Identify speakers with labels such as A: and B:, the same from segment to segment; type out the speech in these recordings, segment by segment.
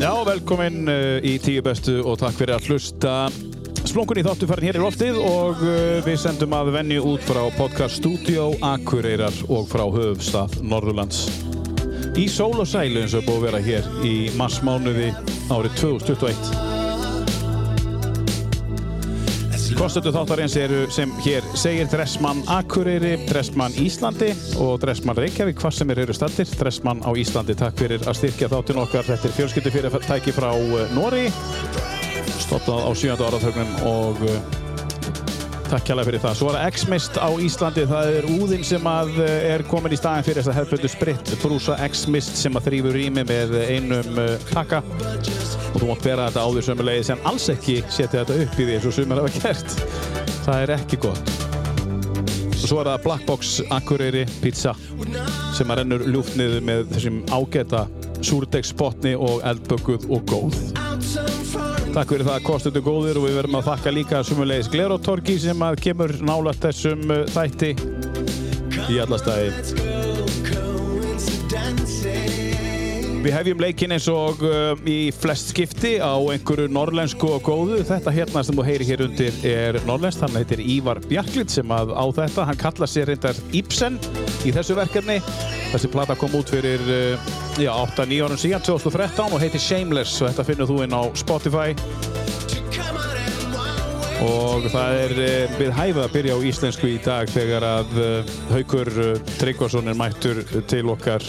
A: Já, velkomin uh, í tíu bestu og takk fyrir að hlusta Splungun í þáttuferðin hér í loftið og uh, við sendum að venju út frá podcast Studio Akureyrar og frá höfstað Norðurlands í sól og sælu eins og er búið að vera hér í massmánuði árið 2021 Kostöldu þáttarins eru sem hér segir Dressmann Akureyri, Dressmann Íslandi og Dressmann Reykjavík, hvað sem er eru stattir Dressmann á Íslandi, takk fyrir að styrkja þáttin okkar, þetta er fjölskyldu fyrir tæki frá Nóri stopnað á 7. áratögnum og uh, takk hérlega fyrir það. Svo er það X-Mist á Íslandi, það er úðinn sem að uh, er komin í staðin fyrir þess að hefðböndu spritt brúsa X-Mist sem að þrýfur rými með einum uh, takka og þú mátt bera þetta áður sömulegi sem alls ekki setja þetta upp í því eins og sumir hafa gert. Það er ekki gott. Og svo er það Black Box Akureyri pizza sem að rennur ljúft niður með þessum ágæta súrdegspotni og eldbögguð og góð. Takk fyrir það kostuðu góðir og við verðum að þakka líka sumulegis Glerótorki sem að kemur nálægt þessum uh, þætti í alla staði. Við hefjum leikinn eins og um, í flest skipti á einhverju norrlensku og góðu. Þetta hérna sem þú heyri hér undir er norrlensk, hann heitir Ívar Bjarklind sem að á þetta, hann kallar sér reyndar Ibsen í þessu verkefni. Þessi plata kom út fyrir uh, já, 8-9 árum síðan, 2013 og heitir Shameless og þetta finnur þú inn á Spotify og það er eh, við hæfið að byrja á íslensku í dag þegar að eh, Haukur eh, Tryggvason er mættur eh, til okkar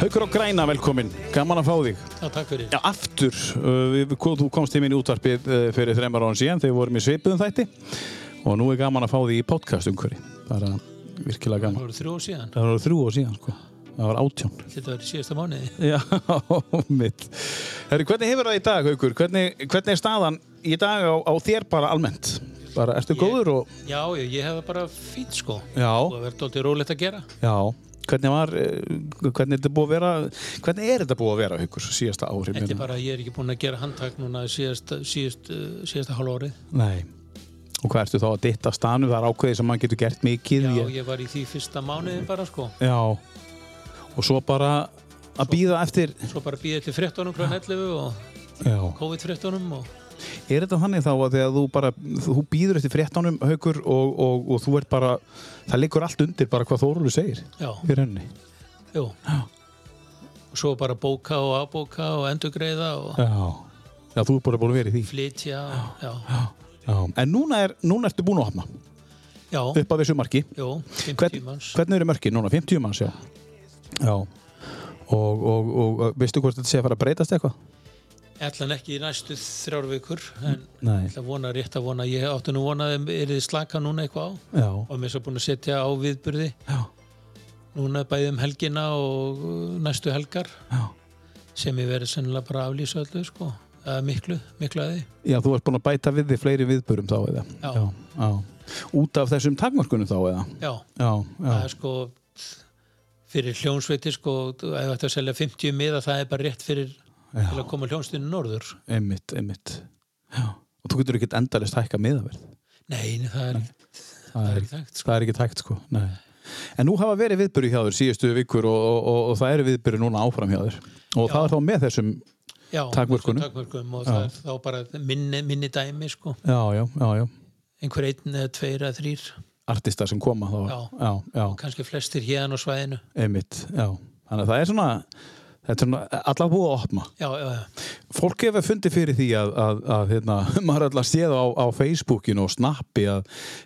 A: Haukur á Græna, velkomin, gaman að fá þig
B: Já, takk fyrir.
A: Já, aftur, uh, við, hvað þú komst til mín í útvarpið uh, fyrir þreymar án síðan þegar við vorum í svipuðum þætti og nú er gaman að fá þig í podcast umhverju bara virkilega
B: Það
A: gaman
B: voru þrjú ár síðan.
A: Það var þrjú og síðan sko, það var átjón
B: Þetta var í síðasta mánuði.
A: Já, mitt. Herri, hvernig hefur það í dag, Haukur? Hvernig, hvernig er staðan í dag á, á þér bara almennt? Bara, ertu góður og...
B: Já, ég, ég hef bara fýtt sko.
A: Já.
B: Og það verður alltaf rólegt að gera.
A: Já. Hvernig var, eh, hvernig er þetta búið að vera, hvernig er þetta búið að vera, Haukur, síðasta ári?
B: Þetta er bara, ég er ekki búinn að gera handtak núna síðasta, síðasta, síðasta hálf árið.
A: Nei. Og hvað ertu þá að ditta stanu? Það er ákveðið sem maður getur gert mikið.
B: Já, ég var í því fyrsta mánuði bara sko.
A: Já. Og svo bara að býða eftir...
B: Svo bara býðið til fréttunum kl. 11 og
A: Já.
B: COVID-fréttunum og
A: Er þetta þannig þá að þegar þú bara, þú býður eftir fréttanum, Haukur, og, og, og þú ert bara, það liggur allt undir bara hvað Þóruldur segir
B: já,
A: fyrir henni?
B: jú. Og svo bara bóka og afbóka og endurgreiða og
A: Já, já þú er bara búin að vera í því
B: flytja og já.
A: já. En núna, er, núna ertu búin að opna
B: Já,
A: upp að þessu marki
B: jú, 50
A: Hvern,
B: manns.
A: Hvernig eru mörkin núna? 50 manns, já Já Og, og, og veistu hvort þetta sé að fara að breytast eitthvað?
B: Ætlan ekki í næstu þrjár vikur en
A: Nei,
B: ætla að vona rétt að vona ég átti nú vonaði er þið slaka núna eitthvað á
A: já,
B: og mér svo búin að setja á viðburði
A: já,
B: núna bæði um helgina og uh, næstu helgar
A: já
B: sem ég verið sennilega bara að aflýsa öllu sko eða miklu, miklu að því
A: Já, þú ert búin að bæta við þig fleiri viðbörum þá eða
B: Já.
A: já, Út af þessum takmörkunum þá eða
B: já,
A: Já,
B: það
A: já,
B: er sko fyrir hljónsveiti sko ef þetta að selja 50 miða það er bara rétt fyrir
A: Já.
B: til að koma hljónstinu norður
A: einmitt, einmitt Já, og þú getur ekkert endalist hækka miðaverð
B: nei, nei, það er, það er ekki þekkt sko.
A: Það er ekki tækt sko, nei En nú hafa verið viðbyrju hjá þér síðustu vikur og, og, og, og það eru viðbyrju núna áfram hjá þér og það er þá með þessum
B: já,
A: Takmörkunum.
B: takmörkunum og það er þá bara minni, minni dæmi sko
A: já, já, já, já,
B: einhver einn eða tveir eða þrýr
A: artistar sem koma þá,
B: Já.
A: já, já,
B: kannski flestir hérna á svæðinu
A: einmitt já. þannig að það er svona þetta er svona allar búið að opna
B: já, já, já,
A: fólk hefur fundið fyrir því að, að, að hérna, maður er allar séð á, á Facebookinu og snappi að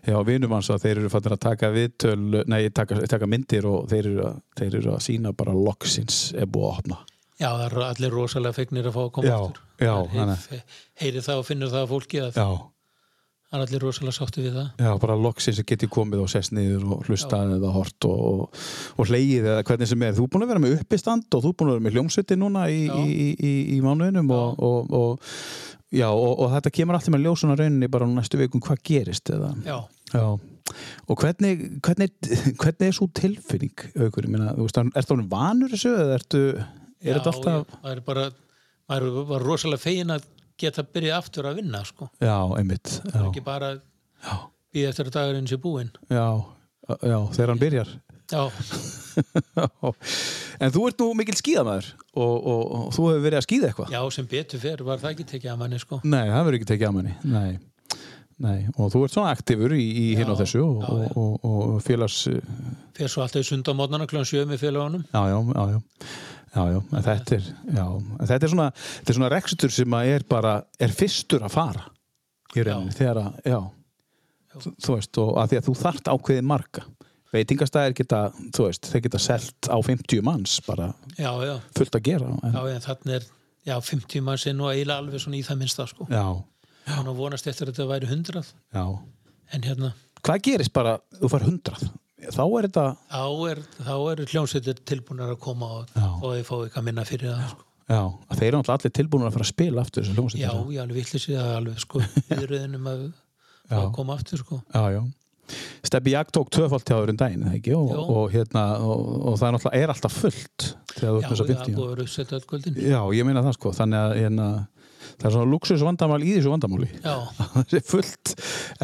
A: já, vinum hans að þeir eru fattir að taka viðtöl nei, taka, taka myndir og þeir eru, að- þeir eru að sína bara loksins er búið að opna
B: já, það eru allir rosalega fegnir að fá að koma
A: Já,
B: aftur
A: já,
B: Það er- heyri það og finnur það að fólki að
A: já,
B: það er allir rosalega sáttu við það
A: Já, bara loksins að geti komið og sest niður og hlustað eða hort og, og, og hleyið eða hvernig sem er. Þú er búin að vera með uppistand og þú er búin að vera með hljómsviti núna í,
B: Já.
A: í, í, í, í mánuðinum og, og, og, já, og, og þetta kemur alltaf með ljósuna rauninni bara á næstu vikum hvað gerist eða.
B: já,
A: Já. Og hvernig, hvernig, hvernig er svo tilfinning, aukur? Ég meina, þú veist, ertu alveg vanur þessu eða ertu, er
B: já,
A: þetta alltaf...
B: já, maður er bara maður var rosalega fegin að geta byrjað aftur að vinna sko,
A: Já, einmitt. Já,
B: ekki bara
A: já,
B: býða eftir að dagurinn sé búinn
A: já, já, þegar hann byrjar.
B: já,
A: en þú ert nú mikil skíðamæður og, og, og þú hefur verið að skíða eitthvað
B: já, sem betur fer var það ekki tekið að manni sko
A: Nei, það verður ekki tekið að manni Nei. Nei, og þú ert svona aktífur í, í hinn og
B: Já,
A: þessu og,
B: já, já.
A: og, og, og félags Já,
B: fyrir svo alltaf í sundamótnana klán 7 með félagunum
A: já, já, já, já, já. En þetta er, já, en þetta er svona þetta er svona rekstur sem að er bara er fyrstur að fara í rauninni, þegar að, já, Þú, þú veist, og að því að þú þart ákveðið marga veitingastæðir geta, þú veist þeir geta selt á 50 manns bara
B: já, já,
A: fullt að gera en,
B: já, en þannig er já, 50 mann sinn og eiginlega alveg svona í það minnsta sko,
A: já,
B: hann og vonast eftir að þetta væri 100
A: já
B: en hérna,
A: Hvað gerist bara, þú fær 100 þá er þetta,
B: þá er, þá er hljónsveitir tilbúnar að koma og
A: Já.
B: og þið fá eitthvað minna fyrir það sko.
A: já, að þeir eru náttúrulega allir tilbúin að fara að spila aftur þessu hljómsveit
B: já, ég alveg vitlis í það alveg sko, viðröðinum að,
A: Já.
B: að koma aftur sko
A: Já, já. Steppi Jakk tók tvöfald hjá öðrun daginn, eða ekki? Og,
B: Jú.
A: og, hérna, og, og það er náttúrulega er alltaf fullt þegar þú
B: já,
A: ert með
B: það
A: þess að
B: er
A: 50.
B: búið að vera uppsett öll kvöldin
A: Já, ég meina það sko, þannig að hérna, það er svona luxus vandamál í þessu vandamáli.
B: já,
A: það er fullt,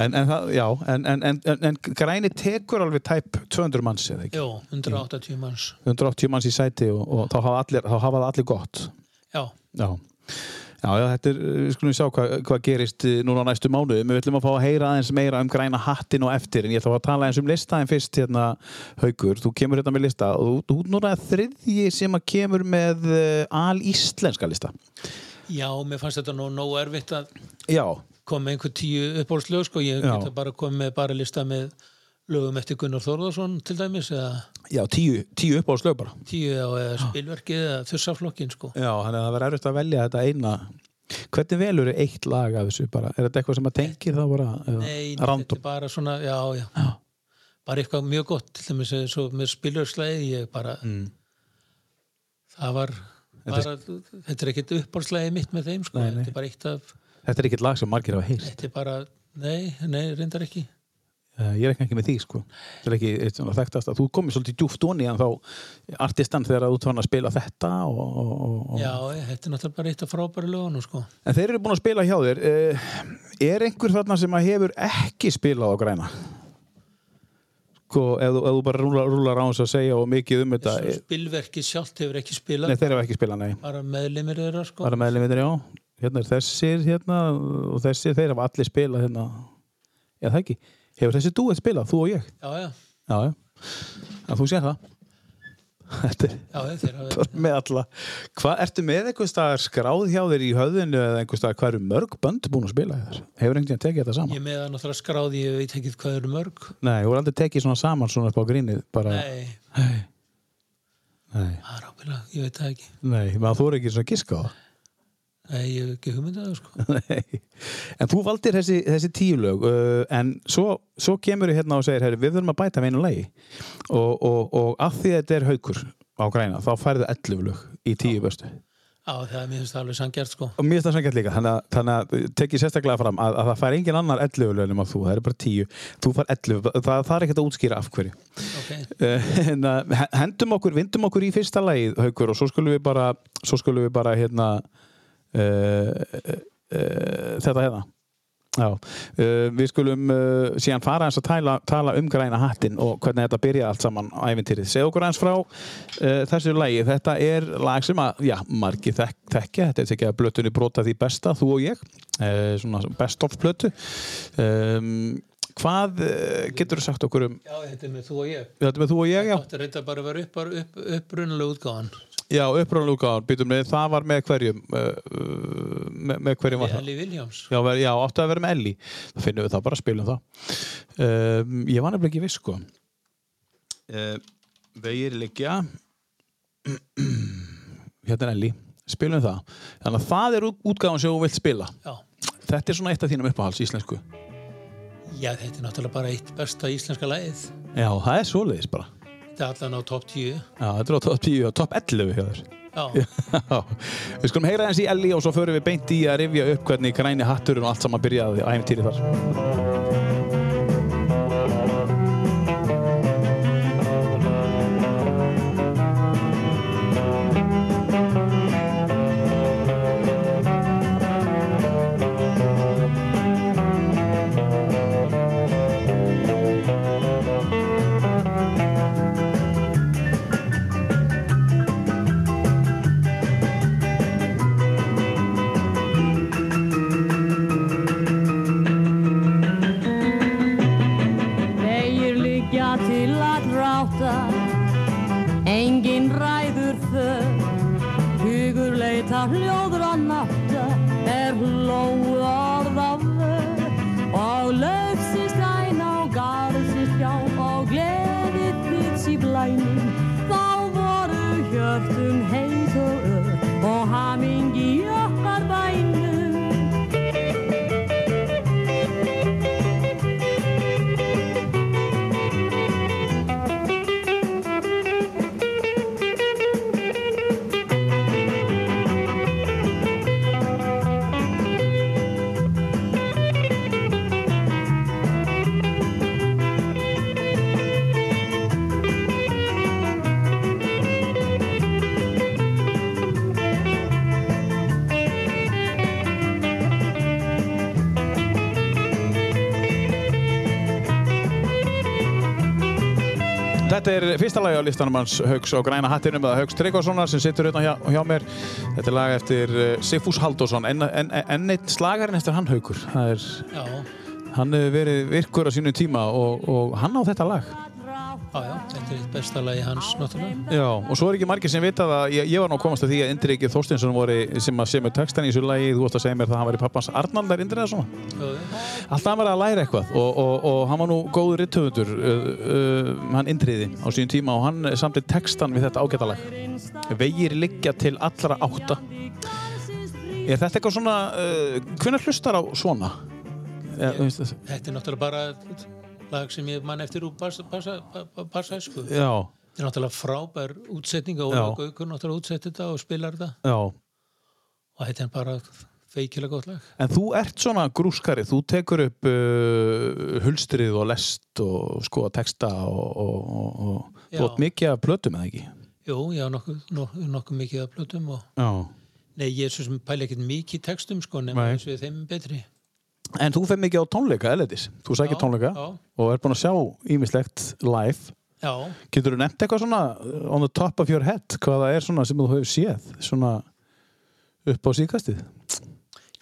A: en, en það, já, en, en, en, en, en græni tekur alveg tæp 200 manns, eða ekki?
B: já, 180 manns
A: 180 manns í sæti og, og þá, hafa allir, þá hafa það allir gott.
B: já,
A: Já. Já, já, þetta er, eh, við skulum sjá hvað hva gerist eh, núna á næstu mánuðum. Við ætlum að fá að heyra aðeins meira um græna hattin og eftir, en ég ætla að fá að tala aðeins um listaðin fyrst hérna, Haukur. Þú kemur hérna með lista og þú, þú núna þriðji sem að kemur með uh, alíslenska lista.
B: já, mér fannst þetta nú nóg erfitt að
A: Já,
B: koma með einhver tíu uppbólslög sko, ég
A: Já.
B: geta bara komið með bara lista með lögum eftir Gunnar Þórðarsson til dæmis eða
A: já, tíu, tíu upp á slög bara.
B: tíu eða eða spilverkið eða þursaflokkin sko.
A: Já, þannig að það verður erfitt að velja þetta eina. Hvernig velur er eitt lag af þessu bara? Er þetta eitthvað sem að tengir það bara? eða
B: Nei, þetta
A: random?
B: er bara svona, já, já, bara eitthvað mjög gott til dæmis eins og með spilverkslæði ég bara,
A: Mm.
B: það var bara, þetta er ekkert uppbólslæði mitt með þeim sko,
A: Nei, nei.
B: þetta er bara eitt af
A: Þetta er ekkert lag sem margir hafa heyrt.
B: þetta er bara, nei, nei, reyndar ekki
A: Uh, ég er ekki ekki með því sko það er ekki eitt svona þekktast að þú komir svolítið djúft onni en þá artistan þegar þú tvann að spila þetta og, og, og- og...
B: já, þetta er náttúrulega bara eitt af frábæri lögunum sko.
A: en þeir eru búin að spila hjá þér uh, er einhver þarna sem að hefur ekki spilað á græna sko ef þú, ef þú bara rúlar, rúlar á hans að segja og mikið um þetta eh,
B: spilverkið sjálft hefur ekki spilað
A: nei þeir hafa ekki spilað nei
B: bara meðlimir þeirra sko.
A: bara meðlum já hérna er þessir hérna og þessir þeir hafa allir spilað hérna já það ekki hefur þessi dúið spilað þú og ég
B: já, já,
A: já já að þú sér það þetta er
B: já, já, þeirra
A: bara með alla Hva, ertu með einhver staðar skráð hjá þér í höfðinu eða einhver staðar hvað eru mörg bönd búin að spila hjá þér hefur einhvern veginn tekið þetta saman
B: ég með það náttúrulega skráði ég veit ekki hvað eru mörg
A: nei, þú er aldrei tekið svona saman svona upp á grínið bara,
B: nei,
A: nei nei,
B: það er ábyrða, ég veit það ekki
A: nei maður þú er ekki svona giska á
B: nei, ég hef ekki hugmyndað það, sko.
A: það Nei. en þú valdir þessi, þessi tíu lög uh, en svo, svo kemur þið hérna og segir herri, við þurfum að bæta með einu lagi og, og, og af því að þetta er haukur á græna, þá færðu 11 lög í tíu bestu
B: á, það er mér finnst það alveg sangjart sko.
A: og mér finnst það sannkjart líka þannig að, þannig að tekið sérstaklega fram að, að það fær engin annar 11 lögnum að þú, það eru bara 10 þú fær 11, það, það er ekkert að útskýra af hverju
B: okay.
A: Eh, en að he- hendum okkur, vindum okkur í fyrsta lagið haukur og svo skulum við bara svo skulum við bara hérna uh, uh, þetta hérna Já, uh, við skulum uh, síðan fara eins að tala, tala um græna hattin og hvernig þetta byrja allt saman á æfintýrið. Segð okkur eins frá uh, þessu lagi. Þetta er lag sem að, já, margi þek þekkja. Þetta er tekið að blötunni brota því besta, þú og ég. Uh, svona best of blötu. Um, hvað uh, getur þú sagt okkur um
B: já, þetta er með þú og ég
A: Þetta með þú og ég, já.
B: þetta er reynda bara að vera upp, bara upp, upprunalega útgáðan
A: Já, upprónulega útgáðan, býtum við, það var með hverjum, uh, uh, með, með hverjum var það?
B: Ellie Williams
A: Já, ver, já, áttu að vera með Elli, þá finnum við það, bara spilum það. Um, ég var nefnilega ekki viss, sko. Uh, vegir liggja, hérna er Elli, spilum við það. Þannig að það er útgáðan sem þú vilt spila.
B: já.
A: Þetta er svona eitt af þínum uppáhalds íslensku.
B: já, þetta er náttúrulega bara eitt besta íslenska lagið
A: Já, það er svoleiðis bara.
B: þetta er allan á top 10
A: Já, þetta er á top 10 og top 11 hjá þér.
B: já,
A: Já, við skulum heyra eins í Ellie og svo förum við beint í að rifja upp hvernig græni hatturinn og allt saman byrjaði á æfintýri þar.
C: Engin ræður för Hugur leita hljóður að nátta Er hlóð orð á vör Og lögsist æn á garðsist hjá Og gleði þitt í blænum Þá voru hjörtum heit og ör Og hamingi okkar bænum
A: Þetta er fyrsta lagi á listanum hans Hauks og græna hattinum eða Hauks Tryggvasonar sem sittur hérna hjá, hjá mér. Þetta er lag eftir eh, Sigfús Halldórsson, enn en, en eitt slagarinn eftir hann Haukur. Það Er,
B: Já,
A: hann hefur verið virkur á sínu tíma og, og hann á þetta lag.
B: já, já, þetta er eitt besta lagi hans náttúrulega.
A: Já, og svo er ekki margir sem vita það, ég, ég var nú að komast að því að Indriki Þorstinsson voru sem að semur textan í þessu lagi, þú varst að segja mér það að hann var í pappans Arnaldar Indriðarsson.
B: Jú, jú.
A: Alltaf hann var að læra eitthvað og, og, og hann var nú góður rittöfundur, uh, uh, hann Indriði á sínu tíma og hann samti textan við þetta ágæta lag. Vegir liggja til allra átta. Er þetta eitthvað svona, uh, hvernig hlustar á svona? Eh, Ja, þú veist það-
B: Þetta er náttúrulega bara lag sem ég man eftir úr Barsæsku.
A: Já,
B: Þetta er náttúrulega frábær útsetning og
A: Já.
B: Gaukur náttúrulega útsett þetta og spilar þetta
A: já.
B: og þetta er bara feikilega gott lag.
A: En þú ert svona grúskari, þú tekur upp uh, hulstrið og lest og sko texta og, og, og, og
B: Já.
A: þú átt mikið að plötum eða ekki?
B: Jú, já, nokkuð nok, nokku mikið að plötum og
A: Já.
B: nei, ég er svo sem pæli ekkert mikið í textum sko, nema
A: Nei.
B: þess við þeim er betri.
A: En þú fer mikið á tónleika, Eledis. Þú sækir
B: Já,
A: tónleika
B: já.
A: og er búin að sjá ýmislegt live.
B: Já,
A: Getur þú nefnt eitthvað svona uh, on the top of your head, hvað það er svona sem þú hefur séð, svona upp á síkastið?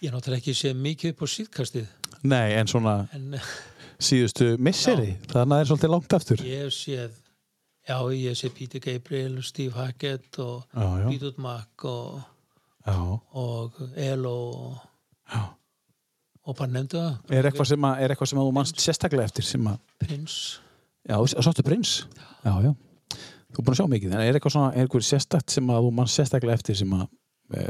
B: ég er náttúrulega ekki séð mikið upp á síðkastið
A: Nei, en svona
B: en
A: síðustu misseri, þannig að það er svolítið langt aftur.
B: ég hef séð já, ég hef séð Peter Gabriel og Steve Hackett og
A: Já, já.
B: Fleetwood Mac og,
A: Já.
B: og Elo og,
A: Já.
B: og bara nefndu það,
A: Er eitthvað sem að, er eitthvað sem að þú manst sérstaklega eftir sem að,
B: Prince
A: já, sáttu prins? Já, já. Þú er búin að sjá mikið, en er eitthvað svona, er eitthvað sérstakt sem að þú manst sérstaklega eftir sem að, e,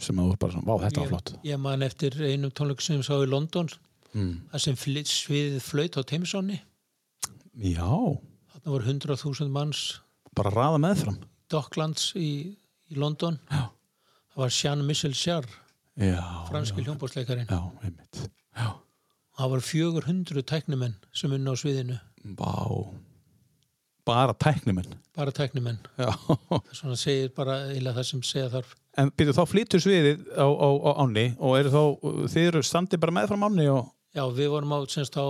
A: sem að þú er bara svona, vá, þetta var flott.
B: ég, ég man eftir einum tónleikum sem ég sá í London
A: Mm.
B: það sem flyt- sviðið flaut á Thamesonni
A: Já,
B: þarna voru 100.000 manns
A: bara raða meðfram.
B: Docklands í, í London
A: Já.
B: það var Jean Michel Jarre
A: Já.
B: franski hljómbóðsleikarinn
A: Já, einmitt. Já.
B: það var 400 tæknimenn sem unna á sviðinu
A: Vá. Bara tæknumenn.
B: bara tæknimenn
A: Já.
B: svona segir bara eða það sem segja þarf
A: En býtu, þá flýtur sviðið á, á, á ánni og eru þá, þið eru standið bara meðfram ánni og...
B: já við vorum á, semst, á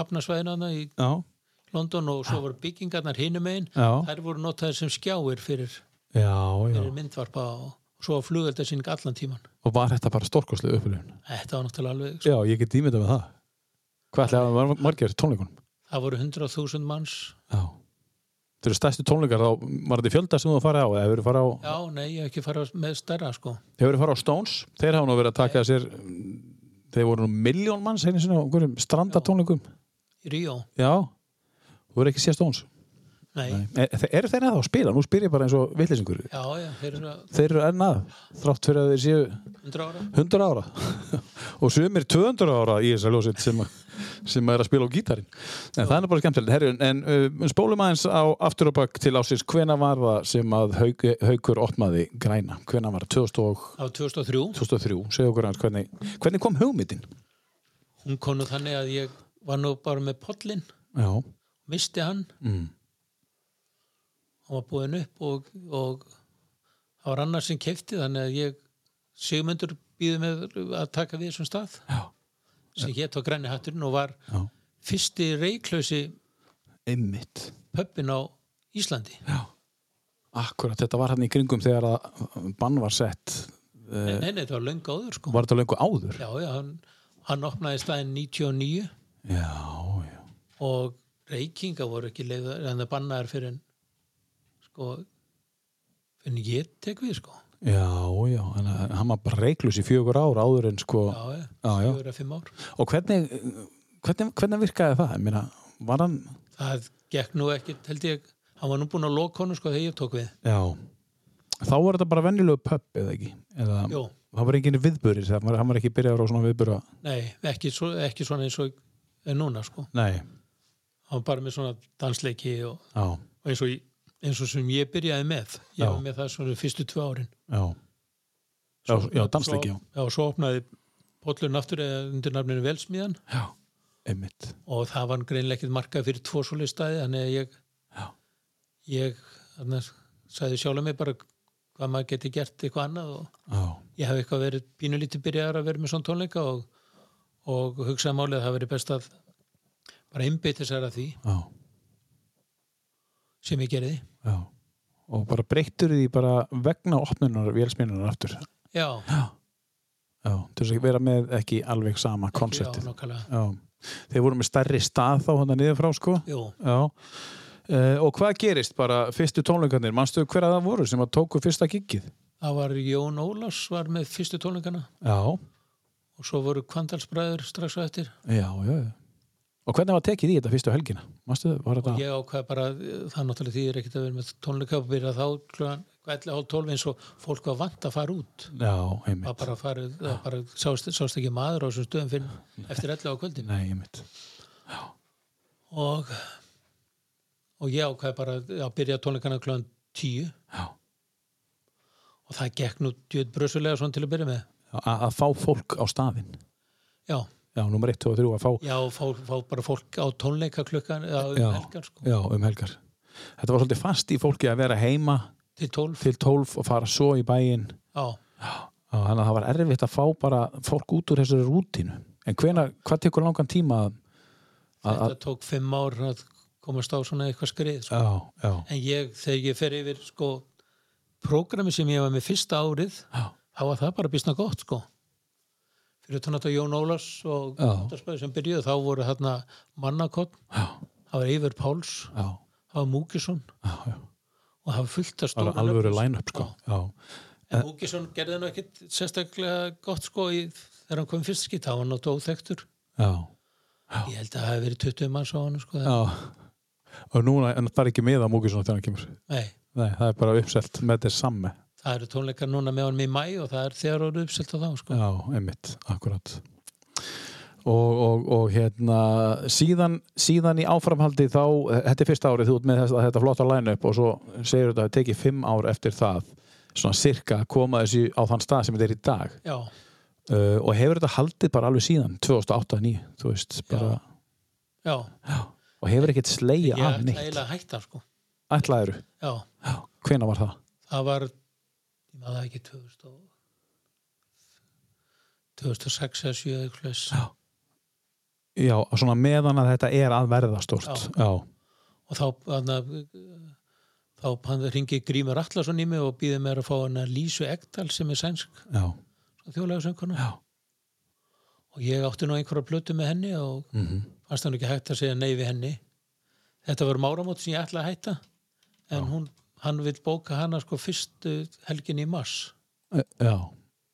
B: hafnasvæðinana í
A: Já.
B: London og svo voru byggingarnar hinum einn
A: Já.
B: þær voru notaðir sem skjáir fyrir,
A: Já, já.
B: fyrir myndvarpa og svo var flugeldarsýning allan tíman
A: Og var þetta bara stórkoslega upplifun?
B: þetta var náttúrulega alveg sko.
A: Já, ég get ímyndað með það. Hvað ætlaði að var margir tónleikunum?
B: það voru 100.000 manns
A: Já. Þau eru stærstu tónleikar, þá var þetta í fjölda sem þú farið á, eða hefur farið á,
B: já nei ég hef ekki farið með stærra sko
A: hefur farið á Stones, þeir hafa nú verið að taka að sér, þeir voru nú miljón manns einu sinni á einhverjum strandatónleikum.
B: í Ríó
A: Já. Þú verður ekki séð Stones.
B: nei.
A: Er, E, eru þeir eða að spila? Nú spyr ég bara eins og vitlisingur.
B: já já þeir eru
A: Þeir eru enn að, þrátt fyrir að þeir séu
B: 100 ára
A: 100 ára og sumir 200 ára í þessar ljósitt sem, sem er að spila á gítarinn en það er nú bara skemmtilegt Herjun, en uh, spólum aðeins á aftur og bakk til ásins hvena var það sem að haug, haukur opnaði græna, hvena var 2003,
B: á 2003
A: segja okkur aðeins hvernig, hvernig kom hugmyndin
B: hún konu þannig að ég var nú bara með pollin
A: já,
B: misti hann
A: mm.
B: hann var búinn upp og, og það var annar sem kefti þannig að ég Sigmundur býði með að taka við þessum stað
A: já,
B: sem hétt á græni hatturinn og var
A: já,
B: fyrsti reiklausi
A: einmitt
B: pöppin á Íslandi
A: já, akkurat þetta var hann í kringum þegar að bann var sett
B: en henni þetta var löngu áður sko
A: var þetta löngu áður
B: já, já, hann, hann opnaði staðin 99
A: já, já,
B: og reykinga voru ekki leiðar en það bannaðar fyrir en sko en ég tek við sko
A: Já, já, en eh, hann var bara reiklus í fjögur ár áður en sko
B: já, já,
A: Já, já.
B: fjögur að fimm ár
A: Og hvernig, hvernig, hvernig virkaði það? Ég meina, var hann
B: það gekk nú ekkert held ég hann var nú búin að loka honum sko þegar ég tók við
A: Já Þá var þetta bara venjulegu pöpp eða ekki eða,
B: Jú.
A: Það var enginn viðböris Hann var, hann var ekki byrjaður á svona viðböra
B: nei, ekki, svo, ekki svona eins og en núna sko,
A: Nei,
B: hann var bara með svona dansleiki og,
A: já,
B: og eins og í- eins og sem ég byrjaði með ég
A: Já.
B: var með það svona fyrstu tvö árin
A: já Já, já dansleiki, já
B: svo, já, svo opnaði Póllun aftur eða undir nafninu Velsmiðan
A: Já, einmitt
B: og það var greinlega ekkert markað fyrir tvo svoleið staði þannig að ég
A: Já.
B: ég þarna, sagði sjálf mig bara hvað maður geti gert eitthvað annað og
A: Já,
B: ég hef eitthvað verið pínulítið byrjaðar að vera með svona tónleika og, og hugsaði málið að það verið best að bara einbytta sér að því
A: já,
B: sem ég gerði
A: já Og bara breyttur því bara vegna opnunar vélsmínunar aftur
B: já,
A: Já, til þess að vera með ekki alveg sama
B: já,
A: konseptið
B: nákvæmlega
A: Já, þeir voru með stærri stað þá hann niður frá sko
B: Jú,
A: Já Uh, og hvað gerist bara fyrstu tónleikarnir manstu hver að það voru sem að tóku fyrsta giggið
B: það var Jón Ólafs var með fyrstu tónleikana
A: já,
B: og svo voru Kvandalsbræður strax á eftir
A: já, já já. og hvernig var tekið í þetta fyrstu helgina manstu, var
B: og
A: þetta
B: ég ákvað bara, eh, það náttúrulega því er ekkert að vera með tónleika og byrja þá klugan 11.30 eins og fólk var vant að fara út
A: já,
B: það
A: einmitt,
B: bara, farið, það bara sást, sást ekki maður á þessum stöðum fyrir eftir 11 á kvöldin
A: nei, einmitt
B: og, og ég ákvað bara að byrja tónleikana klugan 10
A: já,
B: og það gekk nú djöð brösulega svona til að byrja með
A: að, að fá fólk á staðinn
B: já,
A: já, nummer 1, 2 og 3 að fá
B: já fá, fá bara fólk á tónleika klukkan eða um
A: Já.
B: helgar sko,
A: já, um helgar þetta var svolítið fast í fólki að vera heima
B: til 12
A: til 12 og fara svo í bæinn
B: já,
A: Já, þannig að það var erfitt að fá bara fólk út úr þessari rútinu en hvena, hvað tekur langan tíma að, að, að
B: þetta tók 5 ár að komast á svona eitthvað skrið sko.
A: já, já,
B: en ég, þegar ég fer yfir sko, prógrami sem ég var með fyrsta árið
A: já,
B: þá var það bara býstna gott sko fyrir tónat og Jón Ólars og
A: Já.
B: Kvartarsbæði sem byrjuðu þá voru þarna Mannakott,
A: já,
B: það var Eifur Páls
A: já,
B: það var Múkisson
A: já, já.
B: og það var fullt að
A: það
B: stóra
A: var alvöru line-up sko. já, Eh.
B: en Múkisson gerði nú ekkit sérstaklega gott sko í, þegar hann kom í fyrst skitt, það var náttúrulega óþektur
A: já,
B: ég held að það hef verið 20 manns á hann sko,
A: já og núna, en það er ekki með á Múkisson þegar hann kemur
B: nei,
A: nei, það er bara uppselt með þess samme
B: það eru tónleikar núna með honum í mæ og það er þegar orðu uppselt á þá sko.
A: já, einmitt, akkurat og, og, og hérna síðan, síðan í áframhaldi þá, þetta er fyrsta árið þú ert með þetta, þetta flotta line-up og svo segir þetta að teki fimm ár eftir það svona sirka að koma þessu á þann stað sem þetta er í dag
B: já,
A: uh, og hefur þetta haldið bara alveg síðan 2008-2009, þú veist bara,
B: já,
A: og hefur ekkert
B: ég
A: slegið af
B: ætla
A: neitt
B: eiginlega að hætta sko.
A: ætlaðiru,
B: já,
A: hvena var það?
B: það var ég maður það ekki 2000 og 2006 eða 7 eitthvað svoleiðis.
A: Já, svona meðan að þetta er að verða stort já,
B: og þá anna, þá hann ringi Grímur Allarsson í mig og býði mér að fá hann að Lísu Ekdal sem er sænsk
A: já,
B: þjóðlega sönguna
A: já
B: og ég átti nú einhverja plötu með henni og
A: mm
B: fannst hann ekki hægt að segja nei við henni þetta var máramót sem ég ætla að hætta en hún, hann vil bóka hana sko fyrstu helgin í mars
A: Eh, já,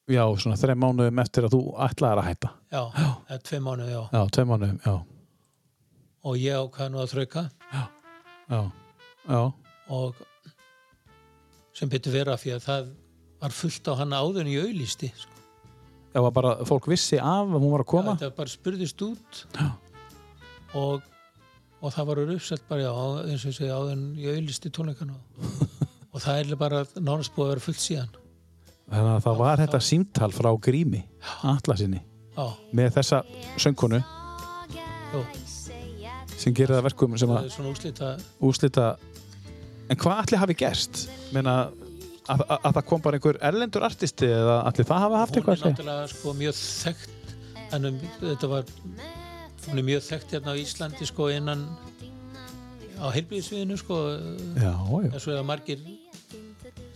A: já, svona þreim mánuðum eftir að þú ætlaðir að hætta
B: já, eða tvei mánu já.
A: já, tveim mánuðum, já,
B: og ég ákvað nú að þrauka
A: já já,
B: og sem betur vera fyrir að það var fullt á hana áður en ég auðlýsti sko.
A: já, var bara fólk vissi af að hún var að koma já,
B: þetta bara spurðist út
A: Já.
B: og, og það var uppsett bara já, eins og ég segi áður en ég auðlýsti tónleikana og það er bara nánast búið að vera fullt síðan
A: þannig að það var þetta símtal frá grími, atlasinni
B: já,
A: með þessa söngkonu
B: jú,
A: sem gerir það að verkum sem að
B: það er svona úslita
A: úslita en hvað allir hafi gerst Meina, að, að, að það kom bara einhver erlendur artisti eða allir það hafa haft
B: hún
A: eitthvað
B: er
A: að segja
B: náttúrulega sko mjög þekkt en um, þetta var hún er mjög þekkt hérna á Íslandi sko innan á heilbíðisviðinu sko
A: já,
B: eins og það margir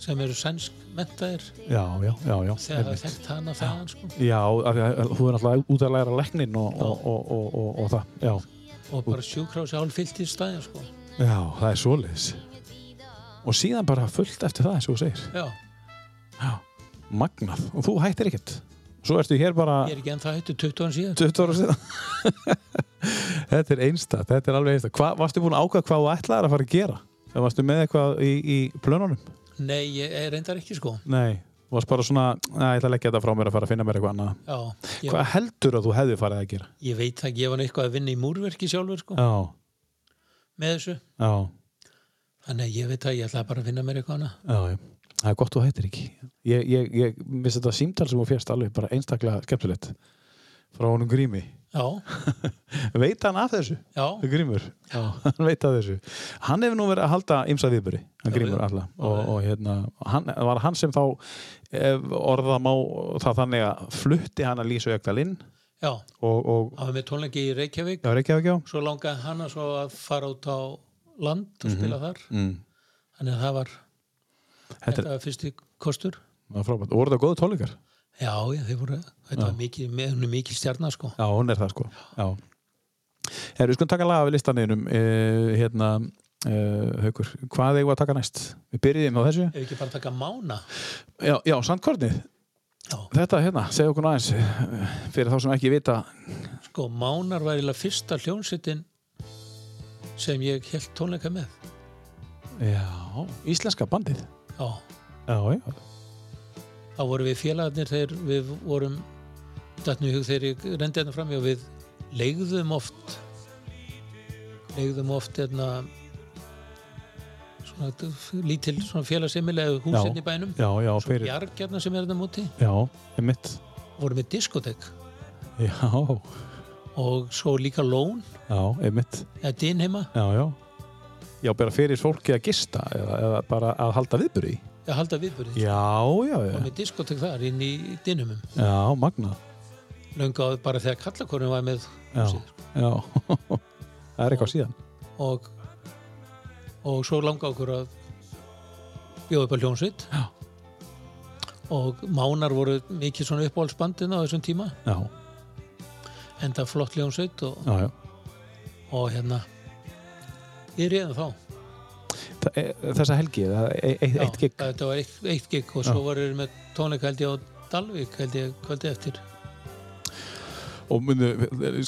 B: sem eru sænsk mentaðir
A: já, já, já, já, já.
B: þegar það er þekkt hana þaðan sko.
A: já af því að hún er alltaf út að læra leknin og, og, og, og, og, og það já.
B: og bara sjúkrási álfyllt í staðin sko.
A: já, það er svoleiðis og síðan bara fullt eftir það eins og þú segir
B: já,
A: magnað og þú hættir ekkert svo ertu hér bara
B: ég er ekki ennþá hættu 20 ára síðan
A: 20 ára síðan þetta er einstakt, þetta er alveg einstakt Hva, varstu búin að ákvæða hvað þú ætlaðir að fara að gera eða varstu með eitthvað í, í plönunum
B: nei, ég er reyndar ekki sko
A: nei, þú varst bara svona að ég ætla að leggja þetta frá mér að fara að finna mér eitthvað annað
B: já, ég,
A: hvað heldur að þú hefði farið að gera
B: ég veit það ekki, ég var eitthvað að vinna í múrverki sjálfur sko,
A: já,
B: með þessu
A: já,
B: þannig að ég veit það, ég ætlaði bara að finna mér eitthvað annað
A: já, já. það er gott þú hættir ekki ég, ég, ég misst þetta símtal sem þú fjast alveg bara einstaklega skemmtilegt frá honum grími
B: já,
A: veit hann af þessu,
B: já,
A: grímur
B: já,
A: hann veit að þessu hann hefur nú verið að halda ymsa viðböri hann
B: Já,
A: grímur
B: já.
A: alla og, og hérna, hann, var hann sem þá ef orða má það þannig að flutti hann að Lísu Jökdal inn
B: já
A: og, og
B: hafa með tónleiki í Reykjavík
A: já, Reykjavík já
B: svo langaði hana svo að fara út á land og spila þar
A: mm.
B: þannig að það var
A: þetta
B: þetta var fyrsti kostur
A: það er frábært, og voru það góðu tónleikar
B: já, já, þeir voru, þetta var mikil með- hún er mikil stjarnar sko
A: já, hún er það sko já Herru, við skulum taka laga við listaninum uh, hérna uh, Haukur, hvað eigum við að taka næst? Við byrjum á þessu
B: ef ekki bara taka mána
A: Já, já sandkornið,
B: já,
A: þetta hérna, segja okkur nú aðeins eh, fyrir þá sem ekki vita
B: sko, mánar var eiginlega fyrsta hljónsittin sem ég held tónleika með
A: Já, íslenska bandið
B: já,
A: Já, já,
B: þá vorum við félagarnir þegar við vorum dattnum í hug þegar ég rendi hérna fram og við leigðum oft leigðum oft hérna svona lítil svona félagsimilega
A: Já.
B: húsinn hérna í bænum
A: já, já,
B: svo
A: fyrir
B: bjarg hérna sem er hérna múti
A: Já, einmitt
B: vorum við diskotek
A: Já,
B: og svo líka lón
A: já, einmitt
B: eða dinheima
A: Já, já Já, bara fyrir fólki að gista eða, eða bara að halda viðbur í
B: að halda viðbörðið
A: Já, já, já
B: og með diskotek þar inn í dinumum
A: Já, magna
B: löngu áður bara þegar kallakorinn var með
A: Já,
B: húsið
A: já Það er eitthvað síðan
B: og og svo langa okkur að bjóða upp á hljónsveit
A: Já.
B: og Mánar voru mikið svona uppáhaldsbandin á þessum tíma
A: Já,
B: en það flott hljónsveit og,
A: já, já
B: og hérna við reyðum þá
A: Þa, e, Þessa helgi, það er eitt, eitt gig
B: þetta var eitt, eitt gig og svo voru við með tónleika held ég á Dalvík held ég kvöldi eftir
A: Og munu,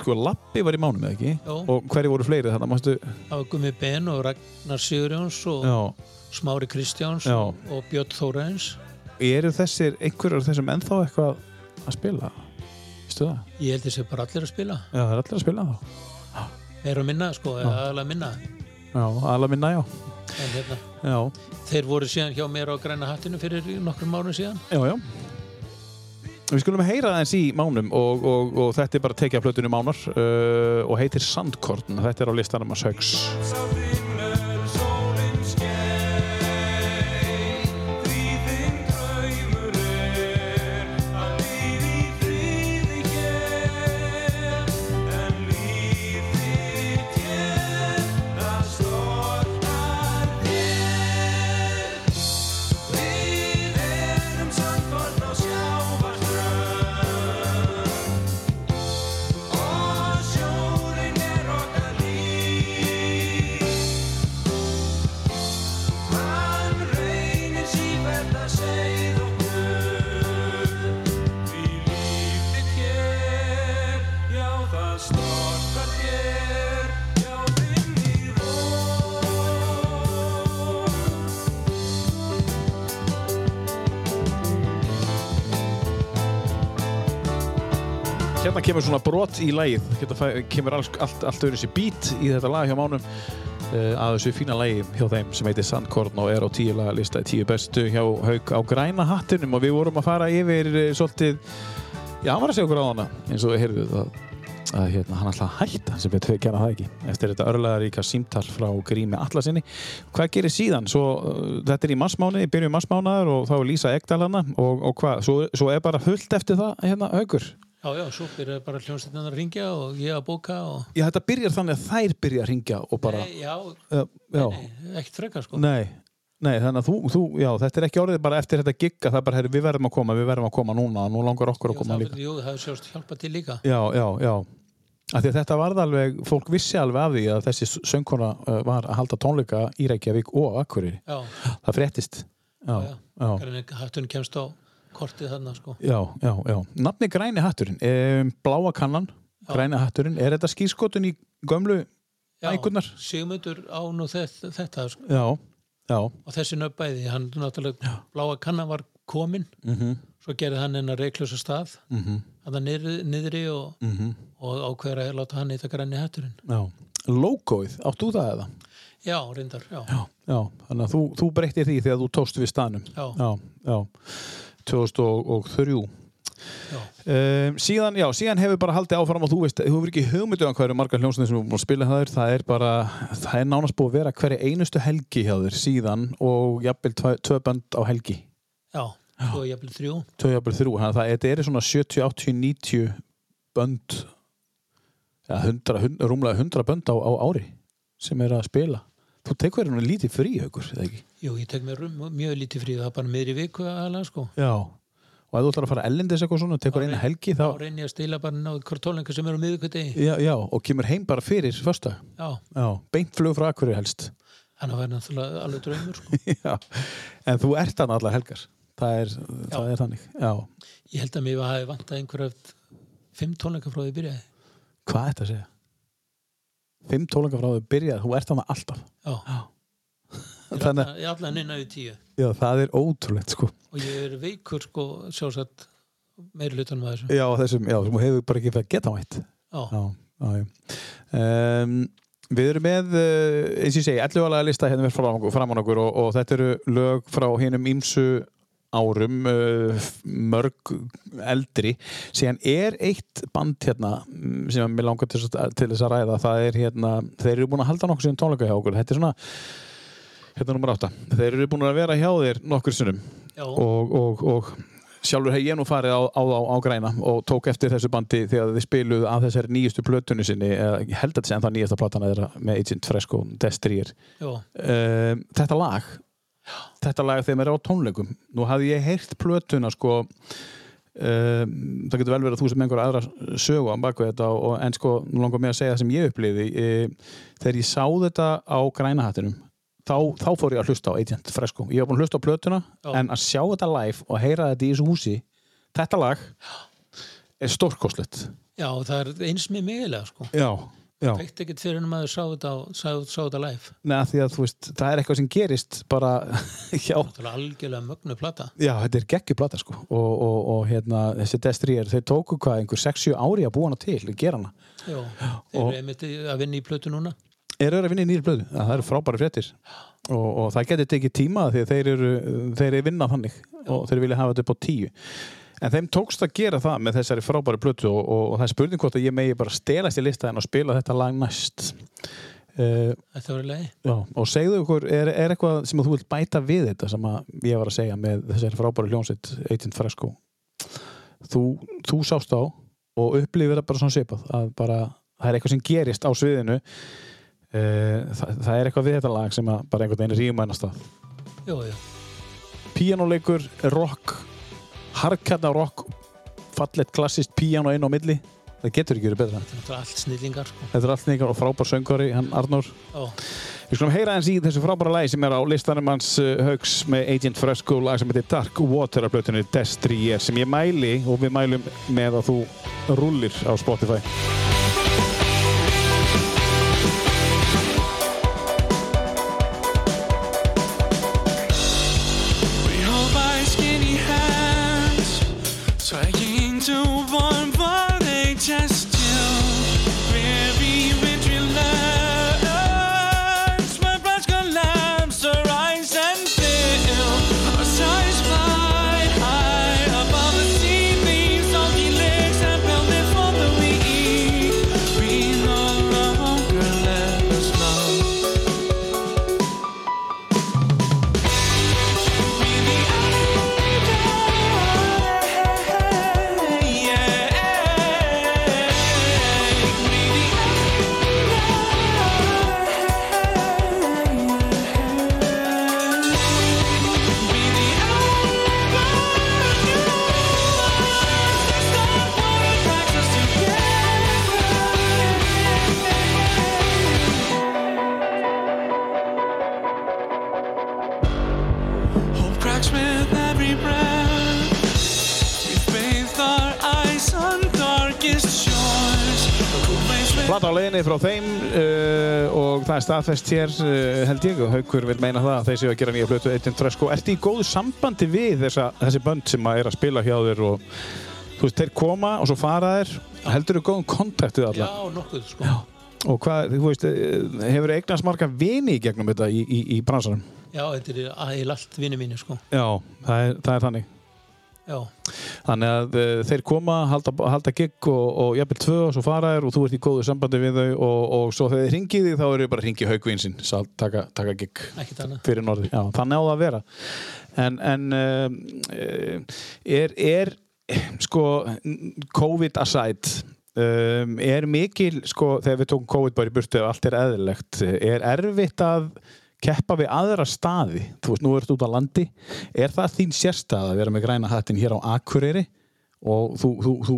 A: sko, Lappi var í mánum eða ekki
B: Já.
A: Og hverju voru fleiri þarna, mástu
B: það var Gummi Ben og Ragnar Sigurjóns og
A: Já
B: Smári Kristjáns
A: Já.
B: og Björn Þóraðins
A: Eru þessir, einhverjur af þessum ennþá eitthvað að spila? Vistu það?
B: ég held þessi bara allir að spila
A: Já, það er allir að spila þá
B: meira að minna sko, aðalega minna
A: Já, aðla minna, já.
B: en hérna
A: Já,
B: Þeir voru síðan hjá mér á græna hattinu fyrir nokkrum árum síðan.
A: já, já. Við skulum heyra það eins í mánum og, og, og þetta er bara tekið af plötunum mánar uh, og heitir Sandkorn. Þetta er á listanum að sögs.
D: Storkar þér, já, vinn í ró.
A: Hérna kemur svona brot í lagið. Hérna fæ, kemur alls, allt, allt öðru sér bít í þetta lag hjá mánum uh, að þessu fína lagi hjá þeim sem heitir Sandkorn og er á tíu laga lista í tíu bestu hjá Hauk á græna hattinum og við vorum að fara yfir uh, svolítið, já, hann var að segja okkur á hana eins og við heyrðum það að hérna, hann ætlaði að hætta sem betur við gera það ekki eftir þetta örlaðaríka símtal frá Grími Allasinni hvað gerir síðan? Svo, uh, þetta er í massmáni, byrjum massmánaðar og þá er Lísa Egdal hana og, og hvað? Svo, svo er bara fullt eftir það hérna haugur?
B: Já, já, svo byrjaði bara hljómsveitin að ringja og ég að bóka og...
A: Já, þetta byrjar þannig að þær byrja að ringja og bara,
B: Nei, já,
A: uh, já,
B: ekkert frekar sko.
A: nei Nei, þannig að þú, þú, já, þetta er ekki orðið bara eftir þetta gigga, það er bara, herri, við verðum að koma, við verðum að koma núna, nú langar okkur að
B: Jú,
A: koma
B: það,
A: líka.
B: jú, það hefur sjást hjálpað til líka.
A: Já, já, já, Af því að þetta varð alveg, fólk vissi alveg af því að þessi söngkona uh, var að halda tónleika í Reykjavík og á Akureyri.
B: já,
A: Það fréttist. Já,
B: já,
A: já.
B: Græni hatturinn kemst á kortið þarna sko
A: Já, já, já. Nafni Græni hatturinn, um, Bláa kannan,
B: Já.
A: Græni hatturinn. Er þetta skýrskotun í gömlu
B: Já,
A: ægurnar?
B: Sigmundur á nú þetta, þetta sko.
A: Já, já.
B: og þessi nöfnbæði, hann náttúrulega bláa kannan var komin
A: Mm -hmm.
B: svo gerði hann hennar reiklösa stað
A: Mm -hmm.
B: hann niðri, niðri og,
A: Mhm.
B: og ákveður að láta hann eitthvað græni hatturinn
A: Já. Logoið, áttu það eða?
B: já, reyndar, já,
A: Já, já. Þannig að þú, þú breyttir því þegar þú tókst við stanum.
B: já, já.
A: Já, já. 2003. Um, síðan, já, síðan hefur bara haldið áfram og þú veist, þú hefur ekki hugmyndu um hvað eru margar hljómsnið sem við búin að spila það er, það er bara, það er nánast búið að vera hverja einustu helgi hjá þér síðan og jafnvel tvö, tvö bönd á helgi
B: já. svo jafnvel þrjú
A: tvö jafnvel þrjú, þannig að það þetta eru svona 70, 80, 90 bönd ja, 100, 100, rúmlega 100 bönd á, á ári sem eru að spila þú tekur hérna lítið frí, haukur, eða ekki?
B: Jú, ég tek mér rúm- mjög lítið frí, það er bara miðri viku aðalega sko.
A: Já og ef þú ætlar að fara ellendis eitthvað svona, tekur
B: Á
A: eina
B: reyn-
A: helgi þá,
B: Þá reyni ég að stila bara náðu kvartólinga sem eru á miðvikudegi.
A: já, já, og kemur heim bara fyrir fyrsta,
B: Já,
A: já, beint flug frá akkurri helst
B: þannig að vera náttúrulega alveg draumur sko.
A: Já, en þú ert hann allar helgar það er, það er þannig Já.
B: Ég held að mér hafi vantað einhverjaf fimm tónleika frá því byrjaði.
A: Hvað er þetta að segja? Fimm tólengar frá þau byrjað, þú ert hann alltaf
B: Já,
A: Þannig,
B: ég er allan inn á því tíu.
A: að- já, það er ótrúlegt sko
B: Og ég er veikur sko, sjálfsagt, meiri hlutanum að þessu.
A: Já, þessum, já, þú hefur bara ekki fyrir að geta mætt
B: Já,
A: Já, já, já um, Við erum með, uh, eins og ég segi, 11 alveg lista hérna verð fram, framan okkur og, og þetta eru lög frá hinnum ímsu árum, uh, f- mörg eldri, síðan er eitt band hérna mm, sem að mér langar til, þess að- til þess að ræða, það er hérna, þeir eru búin að halda nokkur síðan tónleika hjá okkur, þetta er svona hérna nummer átta, þeir eru búin að vera hjá þér nokkur sinnum
B: já,
A: og, og, og sjálfur hef ég nú farið á, á, á, á græna og tók eftir þessu bandi þegar þið spiluðu að þessari nýjustu plötunni sinni eða ég held að þetta sé ennþá nýjasta platan þeirra með Agent Fresco Destrier
B: já,
A: um, þetta lag þetta lag þegar maður er á tónleikum nú hafði ég heyrt plötuna sko um, það getur vel verið að þú sem einhver aðra sögu á baku þetta og, og, en sko nú langar mér að segja það sem ég upplifi e, þegar ég sá þetta á grænahattinum þá, þá fór ég að hlusta á Agent Fresco ég var búin að hlusta á plötuna
B: Já.
A: en að sjá þetta live og heyra þetta í þessu húsi þetta lag er stórkostlegt
B: já, það er eins með migilega sko.
A: já, já
B: Fekkt ekkert fyrir en maður sá þetta, á- sá, sá þetta live.
A: Nei, af því að þú veist, það er eitthvað sem gerist bara hjá
B: Náttúrulega algjörlega mögnu plata.
A: Já, þetta er geggjublata sko og, og, og hérna, þessi Destrier, þeir tóku hvað einhver 6-7 ári að búa hana til, að gera hana
B: Já, þeir
A: Og-
B: eru einmitt að vinna í plötu núna.
A: eru þeir að vinna í nýri blöðu, að það eru frábæri fréttir og, og það getur tekið tíma því að þeir eru, þeir eru vinna þannig og þeir vilja hafa þetta upp á tíu en þeim tókst að gera það með þessari frábæri blöðu og, og, og það er spurning hvort að ég megi bara stelast í listaðin og spila þetta lag næst uh,
B: Þetta var í lagi.
A: já, og segðu okkur, er, er eitthvað sem þú vilt bæta við þetta sem að ég var að segja með þessari frábæri hljónsitt, Agent Fresco þú, þú sást á og upplifir það bara svona svipað að bara, það er eitthvað sem gerist á sviðinu Eh, Þa, það er eitthvað við þetta lag sem að bara einhvern veginn rýma einast að
B: Jú, jú.
A: píjánuleikur, rock harkarna rock fallett klassist píjánu einu á milli það getur ekki verið betra
B: Þetta er náttúrulega allt snillingar sko.
A: þetta er allt nýgar og frábær söngari hann Arnór
B: Já,
A: við skulum heyra hans í þessu frábæra lagi sem er á listanum hans uh, Hauks með Agent Fresco lag sem heitir Dark Water af blötunni Destrier sem ég mæli og við mælum með að þú rullir á Spotify
D: We hold by skinny hands, trying to warm but they just chill. Very wintry lands, my brush collapse, rise and fill. Our sighs fly high above the sea, leaves on the lakes and pounded for the weak. Rocks with every breath. We bathed our eyes on darkest shores. Always with
A: Plata á leiðinni frá þeim uh, og það er staðfest hér uh, held ég og Haukur vil meina það að þeir séu að gera nýja plötu Eitin Trösk og ertu í góðu sambandi við þessa, þessi bönd sem að er að spila hjá þér og þú veist, þeir koma og svo fara þér heldur þú góðum kontakt við alla
B: Já, nokkuð, sko. Já.
A: og hvað, þú veist, eh, hefur eignast marga vini í gegnum þetta í, í, í bransanum
B: þetta er aðeil allt vinni mínu, sko.
A: Já, það er, það er þannig
B: Já,
A: Þannig að uh, þeir koma, halda, halda gig og, og jafnvel tvö og svo fara þér og þú ert í góðu sambandi við þau og, og svo þegar þið ringið þig þá eru þið bara að ringi haugvín sinn, sal- taka, taka gig
B: ekkert annað.
A: fyrir norði. Já, þannig á það að vera. En, en um, eh, er, er, sko, COVID aside, um, er mikil, sko, þegar við tókum COVID bara í burtu og allt er eðlilegt, er erfitt að keppa við aðra staði? Þú veist, nú ertu út á landi. Er það þín sérstað að vera með græna hattin hér á Akureyri og þú, þú, þú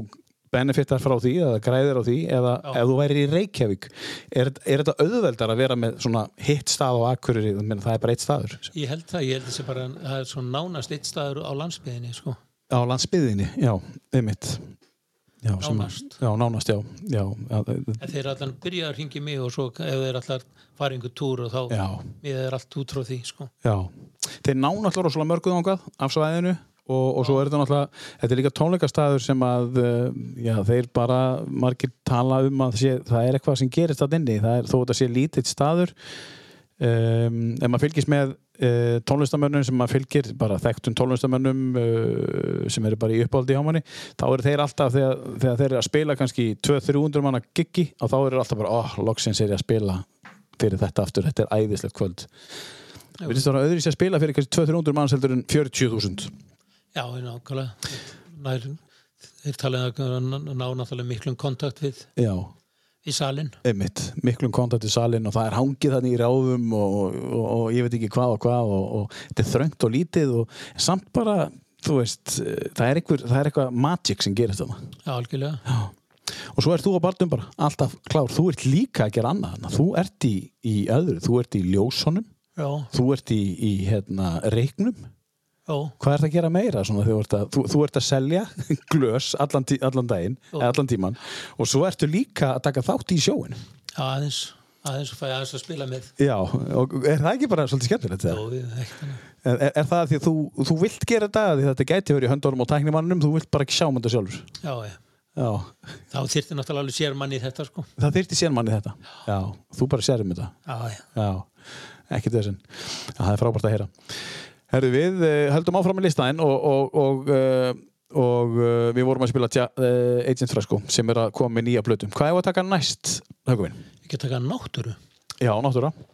A: benefitar frá því eða græðir á því eða
B: Já.
A: ef þú værir í Reykjavík er, er þetta auðveldar að vera með svona hitt stað á Akureyri, Ég meina, það er bara eitt staður
B: Ég held það, ég held þessi bara, það er svona nánast eitt staður á landsbyðinni, sko.
A: á landsbyðinni, já, einmitt já, sem að-
B: Nánast.
A: já, nánast, já, já, já, það-
B: En þeir allan byrja að ringi mig og svo ef þeir allar fara einhver túr og þá
A: já,
B: miða þeir allt út frá því, sko.
A: já. þeir ná náttúrulega rosalega mörguð ángað af svæðinu og, og svo er þetta náttúrulega þetta er líka tónleikastaður sem að eh, já, þeir bara margir tala um að sé, það er eitthvað sem gerist að inni það er, þó þetta sé lítill staður um, ef maður fylgist með uh, tónlistamönnum sem maður fylgir bara þekktum tónlistamönnum uh, sem eru bara í uppáldi hjá manni þá eru þeir alltaf þegar, þegar þeir eru að spila kannski í 200-300 manna giggi og þá eru alltaf bara, oh, loksins er ég að spila fyrir þetta aftur, þetta er æðislegt kvöld við erum það öðru sér að spila fyrir kannski 200-300 manns heldur en 40.000
B: Já, ég nákvæmlega. Nær, þeir talaði að ná náttúrulega miklum kontakt við
A: já,
B: í salin.
A: einmitt, miklum kontakt í salin og það er hangið þannig í ráðum og, og, og, og ég veit ekki hvað og hvað og, og þetta er þröngt og lítið og samt bara, þú veist eh, það er, einhver, það er eitthvað magic sem gerist þarna
B: Já, algjörlega.
A: og svo ert þú á barnum bara, alltaf klár þú ert líka að gera annað, þarna. þú ert í, í öðru, þú ert í ljósonum
B: Já,
A: þú ert í, í hérna, reiknum
B: já,
A: Hvað ert að gera meira? Svona, þú, ert að, þú, þú ert að selja glös allan, tí, allan daginn,
B: Ó.
A: eða allan tíman og svo ertu líka að taka þátt í sjóin.
B: já, aðeins, aðeins að fæ aðeins að spila með.
A: Já, og er það ekki bara svolítið skemmtilegt
B: Já,
A: það?
B: ég- ekkert annað.
A: Er, er það af því að þú, þú vilt gera þetta, af því að þetta gæti verið í höndunum og tæknimannum, þú vilt bara ekki sjá um þetta sjálfur?
B: Já, ég.
A: Já,
B: Þá þyrfti náttúrulega alveg sér manni í þetta, sko.
A: það þyrfti sér manni þetta. Já, þú bara sér um þetta.
B: Já, já.
A: Já, ekkert þessum. Já, það er frábært að heyra. Herðu við, eh, höldum áfram með listaðinn og, og, og, eh, og eh, við vorum að spila tja, uh, Agent Fresco sem er að koma með nýja plötum. Hvað er að taka næst, Haukuminn?
B: Ég get taka náttúru.
A: Já, náttúrulega.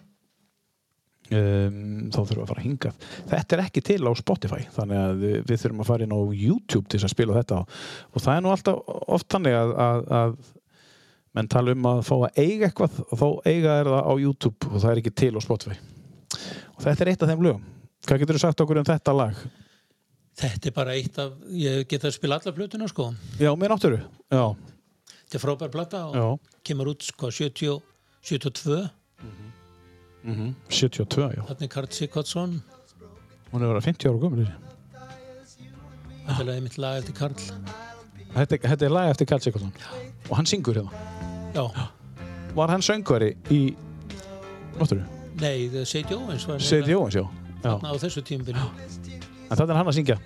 A: Um, þá þurfum við að fara að hingað þetta er ekki til á Spotify þannig að við, við þurfum að fara inn á YouTube til þess að spila þetta og, og það er nú alltaf oft þannig að, að, að menn tala um að fá að eiga eitthvað og þá eiga er það á YouTube og það er ekki til á Spotify og þetta er eitt af þeim lögum hvað getur þú sagt okkur um þetta lag?
B: Þetta er bara eitt af, ég get að spila alla plötuna, sko.
A: Já, mér náttúru Já,
B: Þetta er frábær plata og
A: já,
B: kemur út, sko, 70, 72.
A: 72, já
B: Þarna er Karl Sigvardsson,
A: hún er verið 50 ára gömul þessi.
B: þetta er lagið mitt lag eftir Karl.
A: þetta, er- þetta er lag eftir Karl Sigurðsson og hann syngur hérna
B: Já,
A: Var hann söngvari í Náttúru?
B: nei, það er Seidi Óvins.
A: Seiti Jóhans, já. já.
B: Á þessu tímbinu.
A: En þetta er hann að syngja.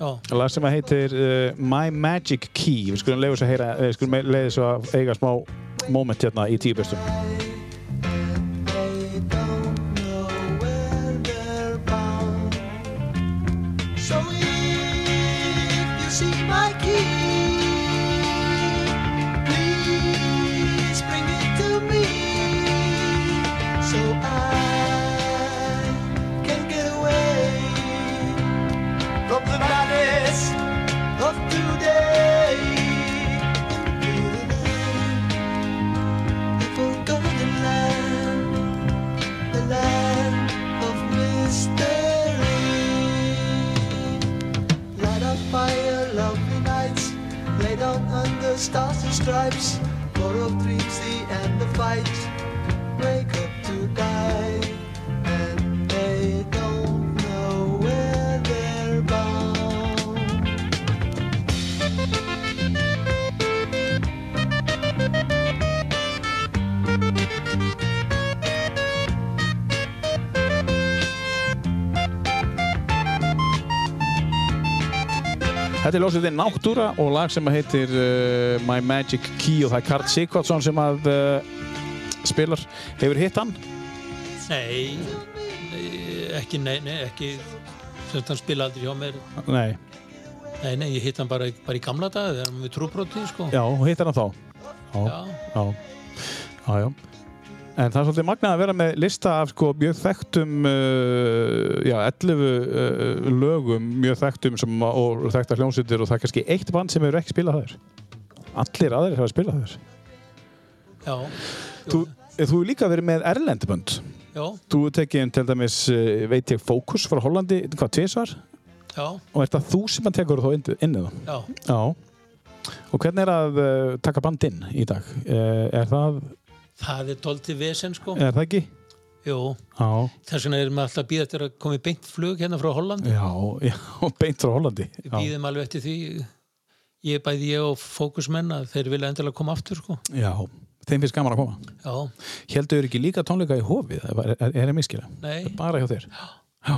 B: Já,
A: Lag sem að heitir uh, My Magic Key. Við skulum leiða þess að heyra, eh, við skulum leiða þess að eiga smá moment hérna í tíu bestum.
E: So if you see my key, please bring it to me so I can get away from the madness of today. Into the forgotten land, the land of mystery. Light up fire, lovely nights. Lay down under stars and stripes. Borrowed dreams, the end of fight. Wake up to die. And they don't know where they
A: Þetta er ljósið Náttúra og lag sem heitir uh, My Magic Key og það er Karl Sigvardsson sem að uh, spilar. Hefur hitt hann?
B: Nei, nei, ekki, nei, nei, ekki, sem sagt, hann spila aldrei hjá mér.
A: Nei.
B: Nei, nei, ég hitt hann bara, í- bara í gamla daga þegar hann var með trúbrótið, sko.
A: Já, hitt hann þá. Já.
B: Já,
A: Já, já, já. En það er svolítið magnað að vera með lista af sko mjög þekktum, uh, já, 11 uh, lögum, mjög þekktum sem, að- og þekktar hljómsýttir og það er kannski eitt band sem hefur ekki spilað þær. Allir aðrir hefur spilað þær.
B: já,
A: Þú, eh, þú hefur líka verið með erlendbönd.
B: já,
A: Þú hefur tekið um til dæmis, eh, veit ég, Fókus frá Hollandi, hvað, tvisvar?
B: já,
A: Og er það þú sem að tekur þá inn, inn það?
B: já.
A: Já. Og hvernig er að uh, taka band inn í dag? Uh, er, það,
B: Það er doldið vesen, sko.
A: er það ekki?
B: Jú,
A: Já.
B: þess vegna erum við alltaf að býða eftir að koma í beint flug hérna frá Holland.
A: Já, já, beint frá Hollandi.
B: Við
A: Já,
B: býðum alveg eftir því, ég bæði ég og fókusmenn að þeir vilja endilega koma aftur, sko.
A: já, þeim finnst gaman að koma.
B: Já,
A: Heldur þau ekki líka tónleika í hofið, eða er, er, er ég miskila?
B: nei,
A: Bara hjá þér? Já.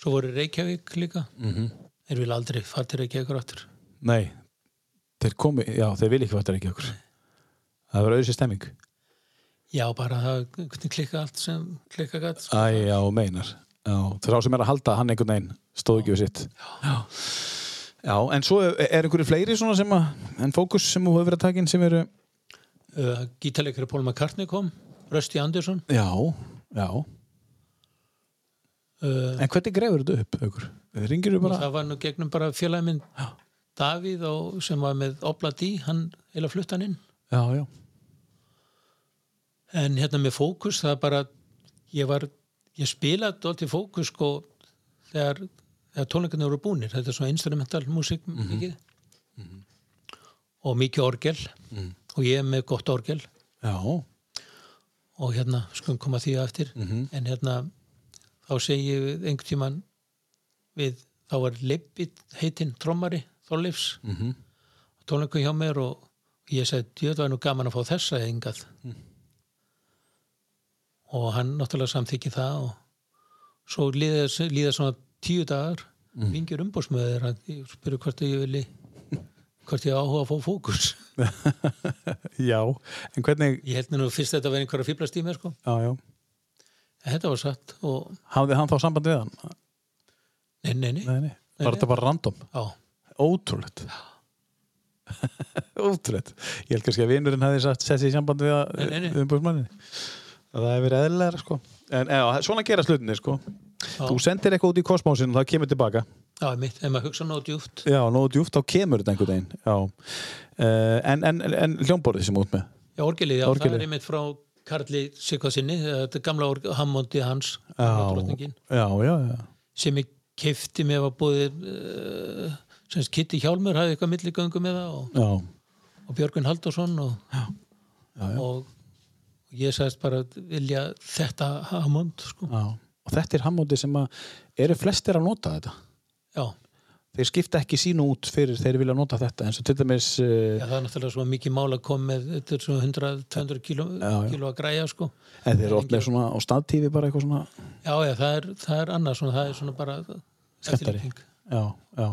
B: svo voru Reykjavík líka. Mm -hmm. Þeir vilja aldrei fara til Reykjavíkur aftur.
A: Nei, þeir komi, já, þeir vil ekki vartar ekki okkur. Það verður auðvitað stemming.
B: Já, bara það, hvernig klikka allt sem sko. klikka gætt.
A: Æ, já, meinar. Já, þrá sem er að halda hann einhvern veginn, stóð ekki við sitt. Já. Já, en svo er er einhverju fleiri svona sem að, en fókus sem þú hefur verið að taka inn sem eru,
B: Uh, Gítarleikari Paul McCartney kom, Rösti Andersson.
A: já, já.
B: Uh,
A: En hvernig grefur þetta upp, aukur? Ringir þú
B: og
A: bara?
B: það var nú gegnum bara félagi minn Davíð og, sem var með Obla D, hann eila flutt hann inn.
A: Já, já.
B: En hérna með fókus, það er bara, ég var, ég spilaði dólti fókus sko þegar, þegar tónleikarnir voru búnir. Þetta er svona instrumental músík mikið. Og mikið orgel og ég er með gott orgel.
A: Já,
B: og hérna skulum koma því á eftir en hérna þá segi ég við einhvern tíman við, þá var Leibit heitinn trommari Þorleifs mm -hmm. tónleikum hjá mér og ég segi djöð var nú gaman að fá þessa engað og hann náttúrulega samþykki það og svo líða, líða svona tíu dagar mm. vingir umbúrsmöður hann spyrir hvort ég vilji hvort ég áhuga að fá fókus
A: já. En hvernig,
B: ég held mér nú fyrst þetta var einhverja fýblastími sko
A: já, já.
B: En Þetta var satt og
A: Hafði hann þá samband við hann?
B: nei, nei, nei,
A: Nei, nei. Var þetta bara random?
B: Já,
A: Ótrúlegt. Ótrúlegt. Ég held kannski að vinurinn hefði sagt sett sér í samband við,
B: Nei, nei, nei.
A: við umbúrsmanninni. Það hefur verið eðlilega, sko. En eða, svona gera slutinni, sko.
B: Já.
A: Þú sendir eitthvað út í kosmósinu og það kemur tilbaka.
B: já, mitt, ef maður hugsa nóg djúft
A: Já, nógu djúft, þá kemur þetta einhvern veginn. Já. Uh, en, en, en hljómborðið sem út með?
B: Já, orgelið, já,
A: Orgelið.
B: það er einmitt frá Karli Sikvasinni, þetta er gamla org, Hammondi hans, drottningin
A: Já, já, já.
B: sem ég kefti mér var búið uh, sem sagt, Kitty Hjálmur hafði eitthvað milligöngu með það og,
A: Já,
B: og Björgvin Halldórsson og, já, já, já. og ég sagðist bara vilja þetta Hammond sko.
A: já. Og þetta er hammóti sem að eru flestir að nota þetta.
B: já,
A: þeir skipta ekki sínu út fyrir þeir vilja nota þetta eins og til dæmis
B: já,
A: uh,
B: það er náttúrulega svo mikið mál að koma með þetta er svo 100-200 kíló,
A: Já, já.
B: kíló að græja sko
A: en þeir eru oft með svona á staðtífi bara eitthvað svona
B: Já, já, það er, það er annars svona, það er svona bara
A: Skemmtari.
B: eftirlíking.
A: já, já.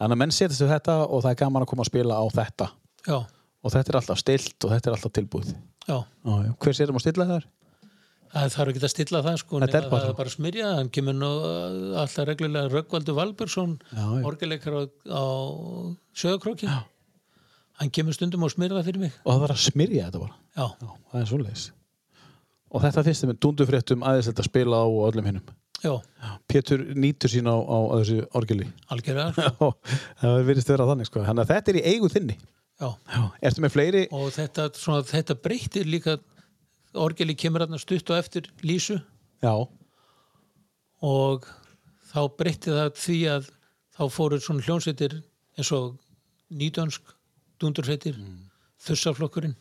A: þannig að menn setjast við þetta og það er gaman að koma að spila á þetta
B: Já,
A: og þetta er alltaf stilt og þetta er alltaf tilbúið já,
B: já,
A: já. hver sérum að stilla þar?
B: það þarf ekki að stilla það sko,
A: Þetta er
B: nema
A: bara-
B: það er bara að smyrja, hann kemur nú uh, alltaf reglulega Röggvaldur Valbursson,
A: Já, já.
B: orgeleikar á, á sögakrókin, hann kemur stundum og smyrja það fyrir mig,
A: og það var að smyrja þetta bara
B: já,
A: já, það er svoleiðis og þetta finnst þeim dundufréttum aðeins þetta spila á og öllum hinnum
B: já,
A: Pétur nýtur sín á, á, á þessu orgili
B: algjörlega, sko,
A: það virðist vera þannig sko þannig að þetta er í eigu þinni
B: já,
A: já. ertu með fleiri
B: og þetta, svona, þetta breytir líka, orgeli kemur hann stutt og eftir Lísu
A: já,
B: og þá breytti það því að þá fóru svona hljónsveitir eins og nýdönsk dundursveitir, þursaflokkurinn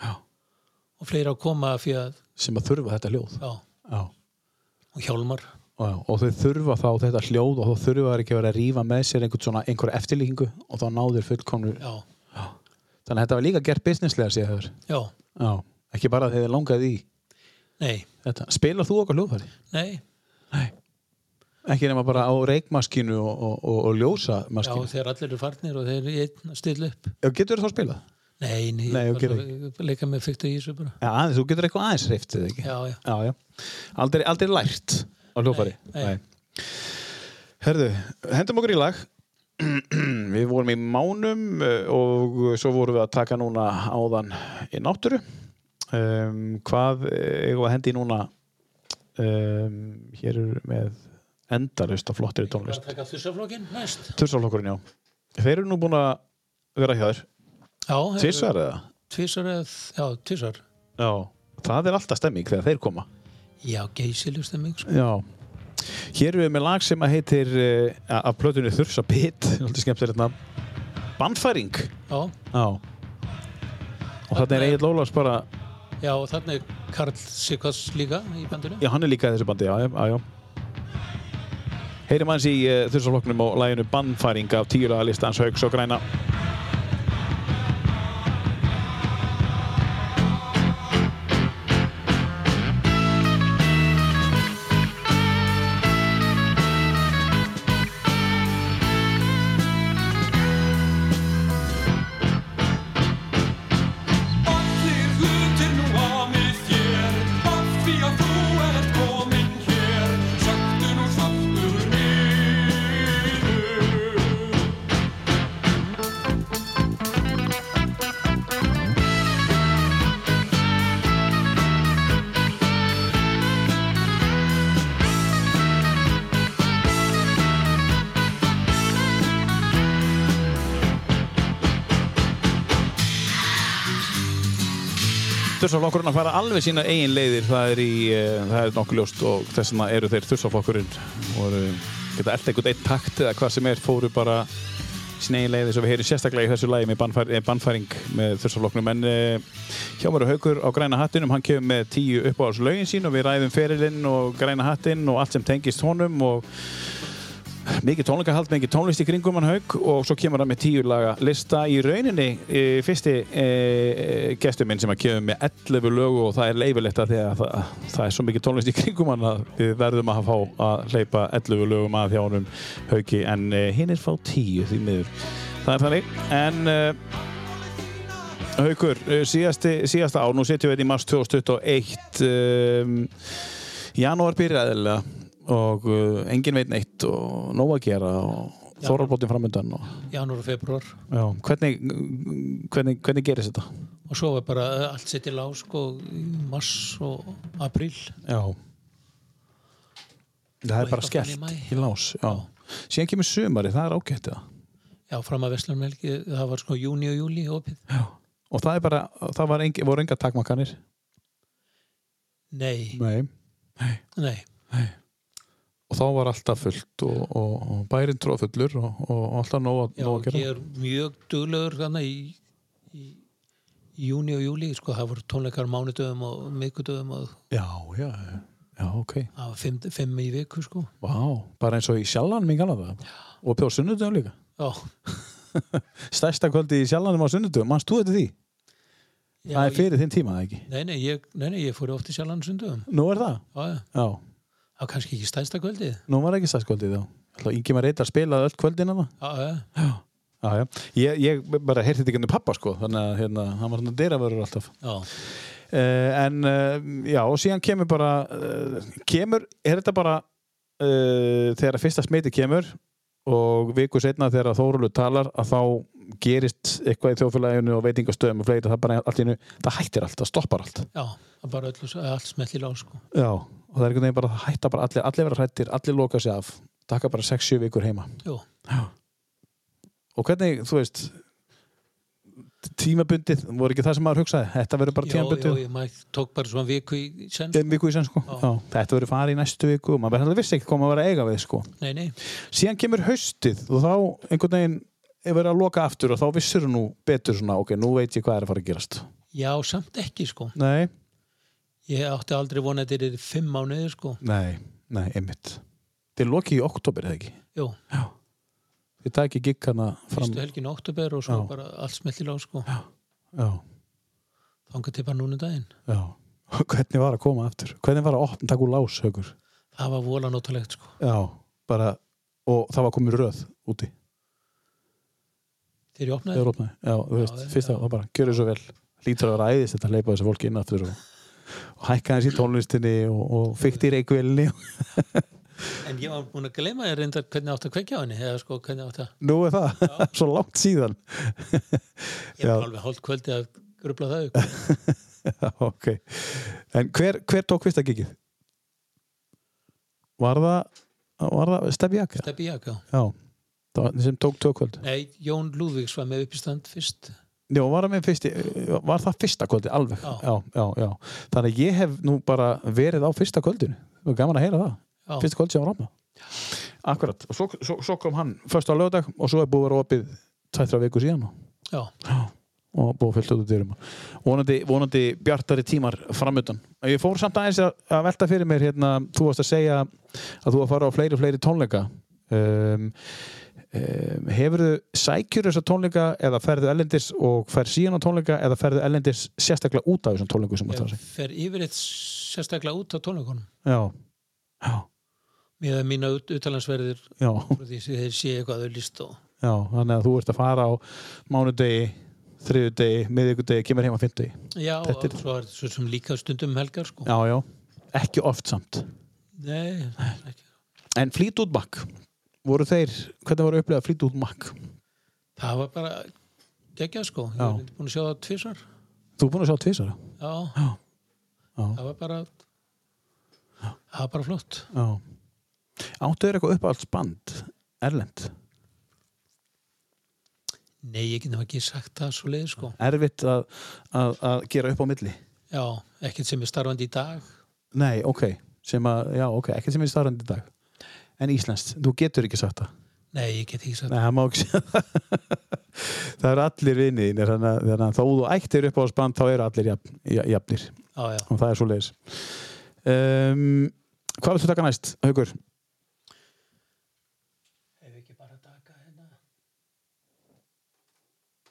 A: Já.
B: og fleira að koma af því að
A: sem að þurfa þetta hljóð
B: já,
A: Já.
B: og hjálmar
A: Já, og þau þurfa þá þetta hljóð og þá þurfa þær ekki að vera að rífa með sér einhvern svona einhver eftirlíkingu og þá náður fullkomnu
B: já,
A: þannig að þetta var líka gert businesslega sér hefur
B: já,
A: Já, ekki bara þegar þið langaði í
B: nei
A: þetta Spilar þú okkar hljóðfæri?
B: nei,
A: Nei ekki nema bara á reikmaskínu og, og, og, og
B: Já,
A: ljósamaskínu
B: þegar allir eru farnir og þeir eru í einn að stilla upp
A: Já, getur þú þá spilað?
B: Nei, nei,
A: Nei,
B: ég
A: ok,
B: var svo- leika með fyrktu í þessu bara
A: Já, aðeins, þú getur eitthvað aðeins hreiftið ekki
B: Já, já.
A: já, Aldrei, aldrei lært á hljófari
B: Nei, nei.
A: Herðu, hendum okkur í lag Við vorum í mánum eh, og svo vorum við að taka núna áðan í náttúru um, Hvað eh, eigum við að hendi núna um, hér eru með endalust af flottri
B: Bara
A: tónlist
B: að taka þussaflokkin næst
A: Tursálokkurinn, já Þeir eru nú búin að vera hjá þér
B: Já, þeir eru
A: Tvisvar eða?
B: Tvisvar eða, já, tvisvar
A: Já Það er alltaf stemming þegar þeir koma
B: Já, geysileg stemming sko.
A: Já Hér erum við með lag sem að heitir uh, af plötunni Þursa Pitt Alltaf skemmtilegt nafn Bannfæring
B: Já,
A: Já Og þarna er Egil Ólafs bara
B: já, og þarna er Karl Sikvas líka í bandinu
A: Já, hann er líka í þessu bandi, já, já, já, já. Heyrim aðeins í uh, Þursaflokknum og læginu Bannfæring af tíulega listans Hauks og Græna
D: Allir hlutir nú að mið þér Af því að þú ert komin hér Söktu nú sáttur niður
A: Þursaflokkurinn að fara alveg sína eigin leiðir það er, í, uh, það er nokkuð ljóst og þess vegna eru þeir Þursaflokkurinn og eru, geta eld einhvern einn takt eða hvað sem er fóru bara sína eigin leiðir eins og við heyrum sérstaklega í þessu lagi með bannfæring, eh, bannfæring með Þursaflokknum en uh, hjá mér er haukur á græna hattinum hann kemur með tíu uppáhalslaugin sín og við ræðum ferilinn og græna hattinn og allt sem tengist honum og mikið tónleikahald, mikið tónlist í kringum hann haug og svo kemur hann með tíu laga lista í rauninni e, fyrsti e, gestur minn sem að kemur með 11 lögu og það er leifilegt að því að það, það er svo mikið tónlist í kringum hann að við verðum að fá að hleypa 11 lögum að hjá honum haugi en e, hinn er fá 10 því miður það er þannig en e, haugur, e, síðasti, síðasta ár nú setjum við þetta í mars 2021 e, janúar byrjaði eðlilega og uh, engin veit neitt og nóg að gera og þorrarbótin framöndan og,
B: Janúar og februar
A: já, hvernig, hvernig, hvernig gerist þetta?
B: og svo var bara eh, allt sitt í lág sko, í mars og apríl
A: Já Það er
B: Og
A: bara
B: eitthvað fram í
A: skellt
B: maí.
A: í lás já. síðan kemur sumari, það er ágætt eða?
B: Já, fram að Veslanmelki, það var sko júni og júli opið.
A: Já. og það er bara, það var engi, voru enga takmakanir
B: Nei,
A: Nei.
B: nei,
A: og þá var alltaf fullt og, og, og bærin tróðfullur og, og alltaf nóg að,
B: já,
A: nóg að gera
B: ég er mjög duglegur þannig í, í júni og júli, sko, það voru tónleikar á mánudöfum og miðgudöfum og
A: Já, já, já, já, ok
B: það var fimm, fimm í viku, sko.
A: Vá, bara eins og í sjallanum í Galanda og upp á sunnudum líka
B: Já,
A: stærsta kvöldi í sjálflandum á sunnudum mannst þú þetta því?
B: já
A: það er fyrir þinn tíma, eða ekki?
B: Ég, nei, nei, ég, nei, nei, ég fór oft í sjálfan sundöfum.
A: Nú er það?
B: Já, já,
A: Já,
B: það var kannski ekki stænsta kvöldið.
A: nú var ekki stærskvöldið þá Alltaf yngi maður reyta að spila öll kvöldin hana
B: Já, já,
A: Já, já, ég, ég bara heyrði þetta ekki um pappa sko þannig að hérna, hann var svona dyravörur alltaf
B: já,
A: uh, en uh, já, og síðan kemur bara uh, kemur, er þetta bara uh, þegar að fyrsta smiti kemur og viku setna þegar að Þórulu talar að þá gerist eitthvað í þjófélaginu og veitingastöðum og fleiri það bara allt í einu, það hættir allt, það stoppar allt
B: já, það bara öllu, allt smetli lág, sko.
A: Já, og það er einhvern veginn bara að hætta bara allir, allir vera hrættir, allir loka sig af taka bara 6-7 vikur heima
B: Jú,
A: og hvernig, þú veist tímabundið, voru ekki það sem maður hugsaði þetta verður bara
B: jú, jú,
A: tímabundið
B: ég mæk, tók bara svona viku í senn.
A: einn viku í senn sko, já. þetta verður farið í næstu viku og maður verður alveg vissi ekki hvað maður verður að eiga við sko
B: Nei, nei,
A: síðan kemur haustið og þá einhvern veginn er verið að loka aftur og þá vissur nú betur svona, ok, nú veit ég hvað er að fara að gerast
B: já, samt ekki, sko.
A: Nei,
B: Ég átti aldrei vonað þetta er fimm mánuðið, sko.
A: nei, nei, einmitt Þið er lokið í oktober eða ekki
B: Jú,
A: Þið takið gikk hana fram
B: fyrstu helgin oktober og svo
A: Já.
B: bara allt smellir á sko
A: Já,
B: þangað til bara núna daginn
A: já Hvernig var að koma aftur? Hvernig var að opna, taka úr lás, haukur?
B: það var vola notalegt sko
A: Já, bara, og það var komið röð úti
B: þegar ég opnaði
A: þegar opnaði, já, þú veist,
B: já,
A: fyrst það var bara gjörðu svo vel, lítur að ræðist þetta hleypa þessu fólki inn aftur og, og hækka hans í tónlistinni og, og fykti í reikvélni
B: en ég var búin að gleyma þér reyndar hvernig átt að kveikja á henni eða sko hvernig átt að
A: nú er það, svo langt síðan
B: ég
A: Já.
B: var alveg hálft kvöldi að grubla það upp
A: já, ok en hver, hver tók fyrsta gigið? var það var það Steffi Jaka?
B: Steppi Jaka
A: já, það var sem tók tökvöld
B: Nei, Jón Lúðvíks var með uppistand fyrst
A: Já, var, það með fyrsti, var það fyrsta kvöldi alveg
B: Já.
A: já, já, já. þannig að ég hef nú bara verið á fyrsta kvöldinu og gaman að heyra það,
B: Já.
A: fyrsta kvöldi sem var ráma Akkurat, og svo, svo, svo kom hann först á lögdag og svo er búið að vera opið tættra viku síðan og-
B: Já,
A: og búið fyllt út út dyrum vonandi, vonandi bjartari tímar framutan ég fór samt aðeins að, að velta fyrir mér hérna, þú varst að segja að þú að fara á fleiri og fleiri tónleika um, um, hefurðu sækjur þessa tónleika eða ferðu ellendis og ferð síðan á tónleika eða ferðu ellendis sérstaklega út af þessum tónleiku sem þú
B: ég
A: ert að
B: fer yfirleitt sérstaklega út á tónleikunum
A: segja já, já,
B: með að mína utalansverðir
A: já,
B: því sem þeir sé eitthvað auðlist og
A: já þannig að þú ert að fara á mánudegi, þriðudegi, miðvikudegi kemur heima fymtudegi,
B: já,
A: Þetta er-
B: og svo er svo sem líka stundum um helgar sko
A: já, já ekki oft samt
B: Nei, ekki.
A: En Fleetwood Mac voru þeir, hvernig voru upplegað Fleetwood Mac?
B: það var bara geggjað sko ég
A: Já.
B: er reyndar búin að sjá það tvisar
A: Þú er búin að sjá tvisara
B: já,
A: Já.
B: það var bara það var bara flott
A: Já Áttu þeir eitthvað uppáhaldsband Erlend,
B: nei, ég getum ekki sagt það svo leið sko
A: erfitt að, að, að gera upp á milli
B: já, ekkert sem er starfandi í dag
A: Nei, ok, sem að, já ok, ekkert sem er starrandi í dag En Íslands, þú getur ekki sagt það
B: nei, ég get ekki sagt
A: Nei, það má ekki segja það Það eru allir vinni þínir, þannig að- þannig að þó þú ættir uppáhaldsband þá eru allir jafn, ja- jafnir
B: það já, já.
A: og það er svo leiðis um, Hvað vil þú taka næst, Haukur?
B: ef ekki bara taka hérna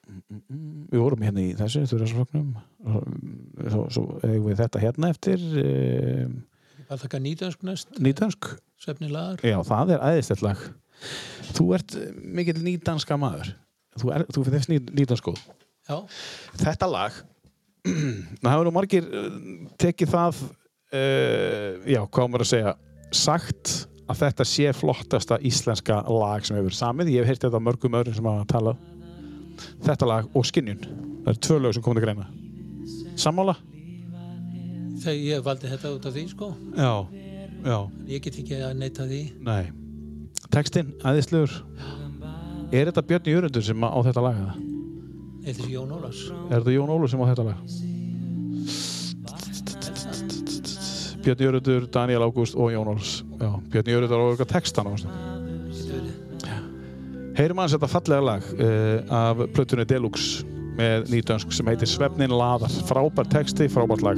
A: við vorum hérna í þessu þurrasflokknum svo, svo eigum við þetta hérna eftir e,
B: ég bara taka nýtönsk næst,
A: nýdansk
B: svefnilagar
A: já, það er æðislegt lag þú ert eh, mikill nýdanska maður þú, er, þú finnst ný, nýdansk góð
B: já,
A: þetta lag það hefur nú margir eh, tekið það e, já, hvað á maður að segja sagt að þetta sé flottasta íslenska lag sem hefur verið samið ég hef heyrt þetta af mörgum öðrum sem hafa talað þetta lag og Skinjun það eru tvö lög sem komið til greina sammála?
B: þegar ég valdi þetta út af því sko
A: Já, já,
B: ég get ekki að neyta því
A: nei Textinn, æðislegur Er þetta Björn Jörundur sem á þetta laga það?
B: eða þessi Jón Ólafs
A: Er þetta Jón Ólur sem á þetta laga? Björn Jörundur, Daniel Ágúst og Jón Óls Já, Björn Jörundur á eitthvað textan á
B: Getur verið.
A: Heyrum aðeins þetta fallega lag uh, af plötunni Deluxe með nýtönsk sem heitir Svefnin laðar frábær texti, frábært lag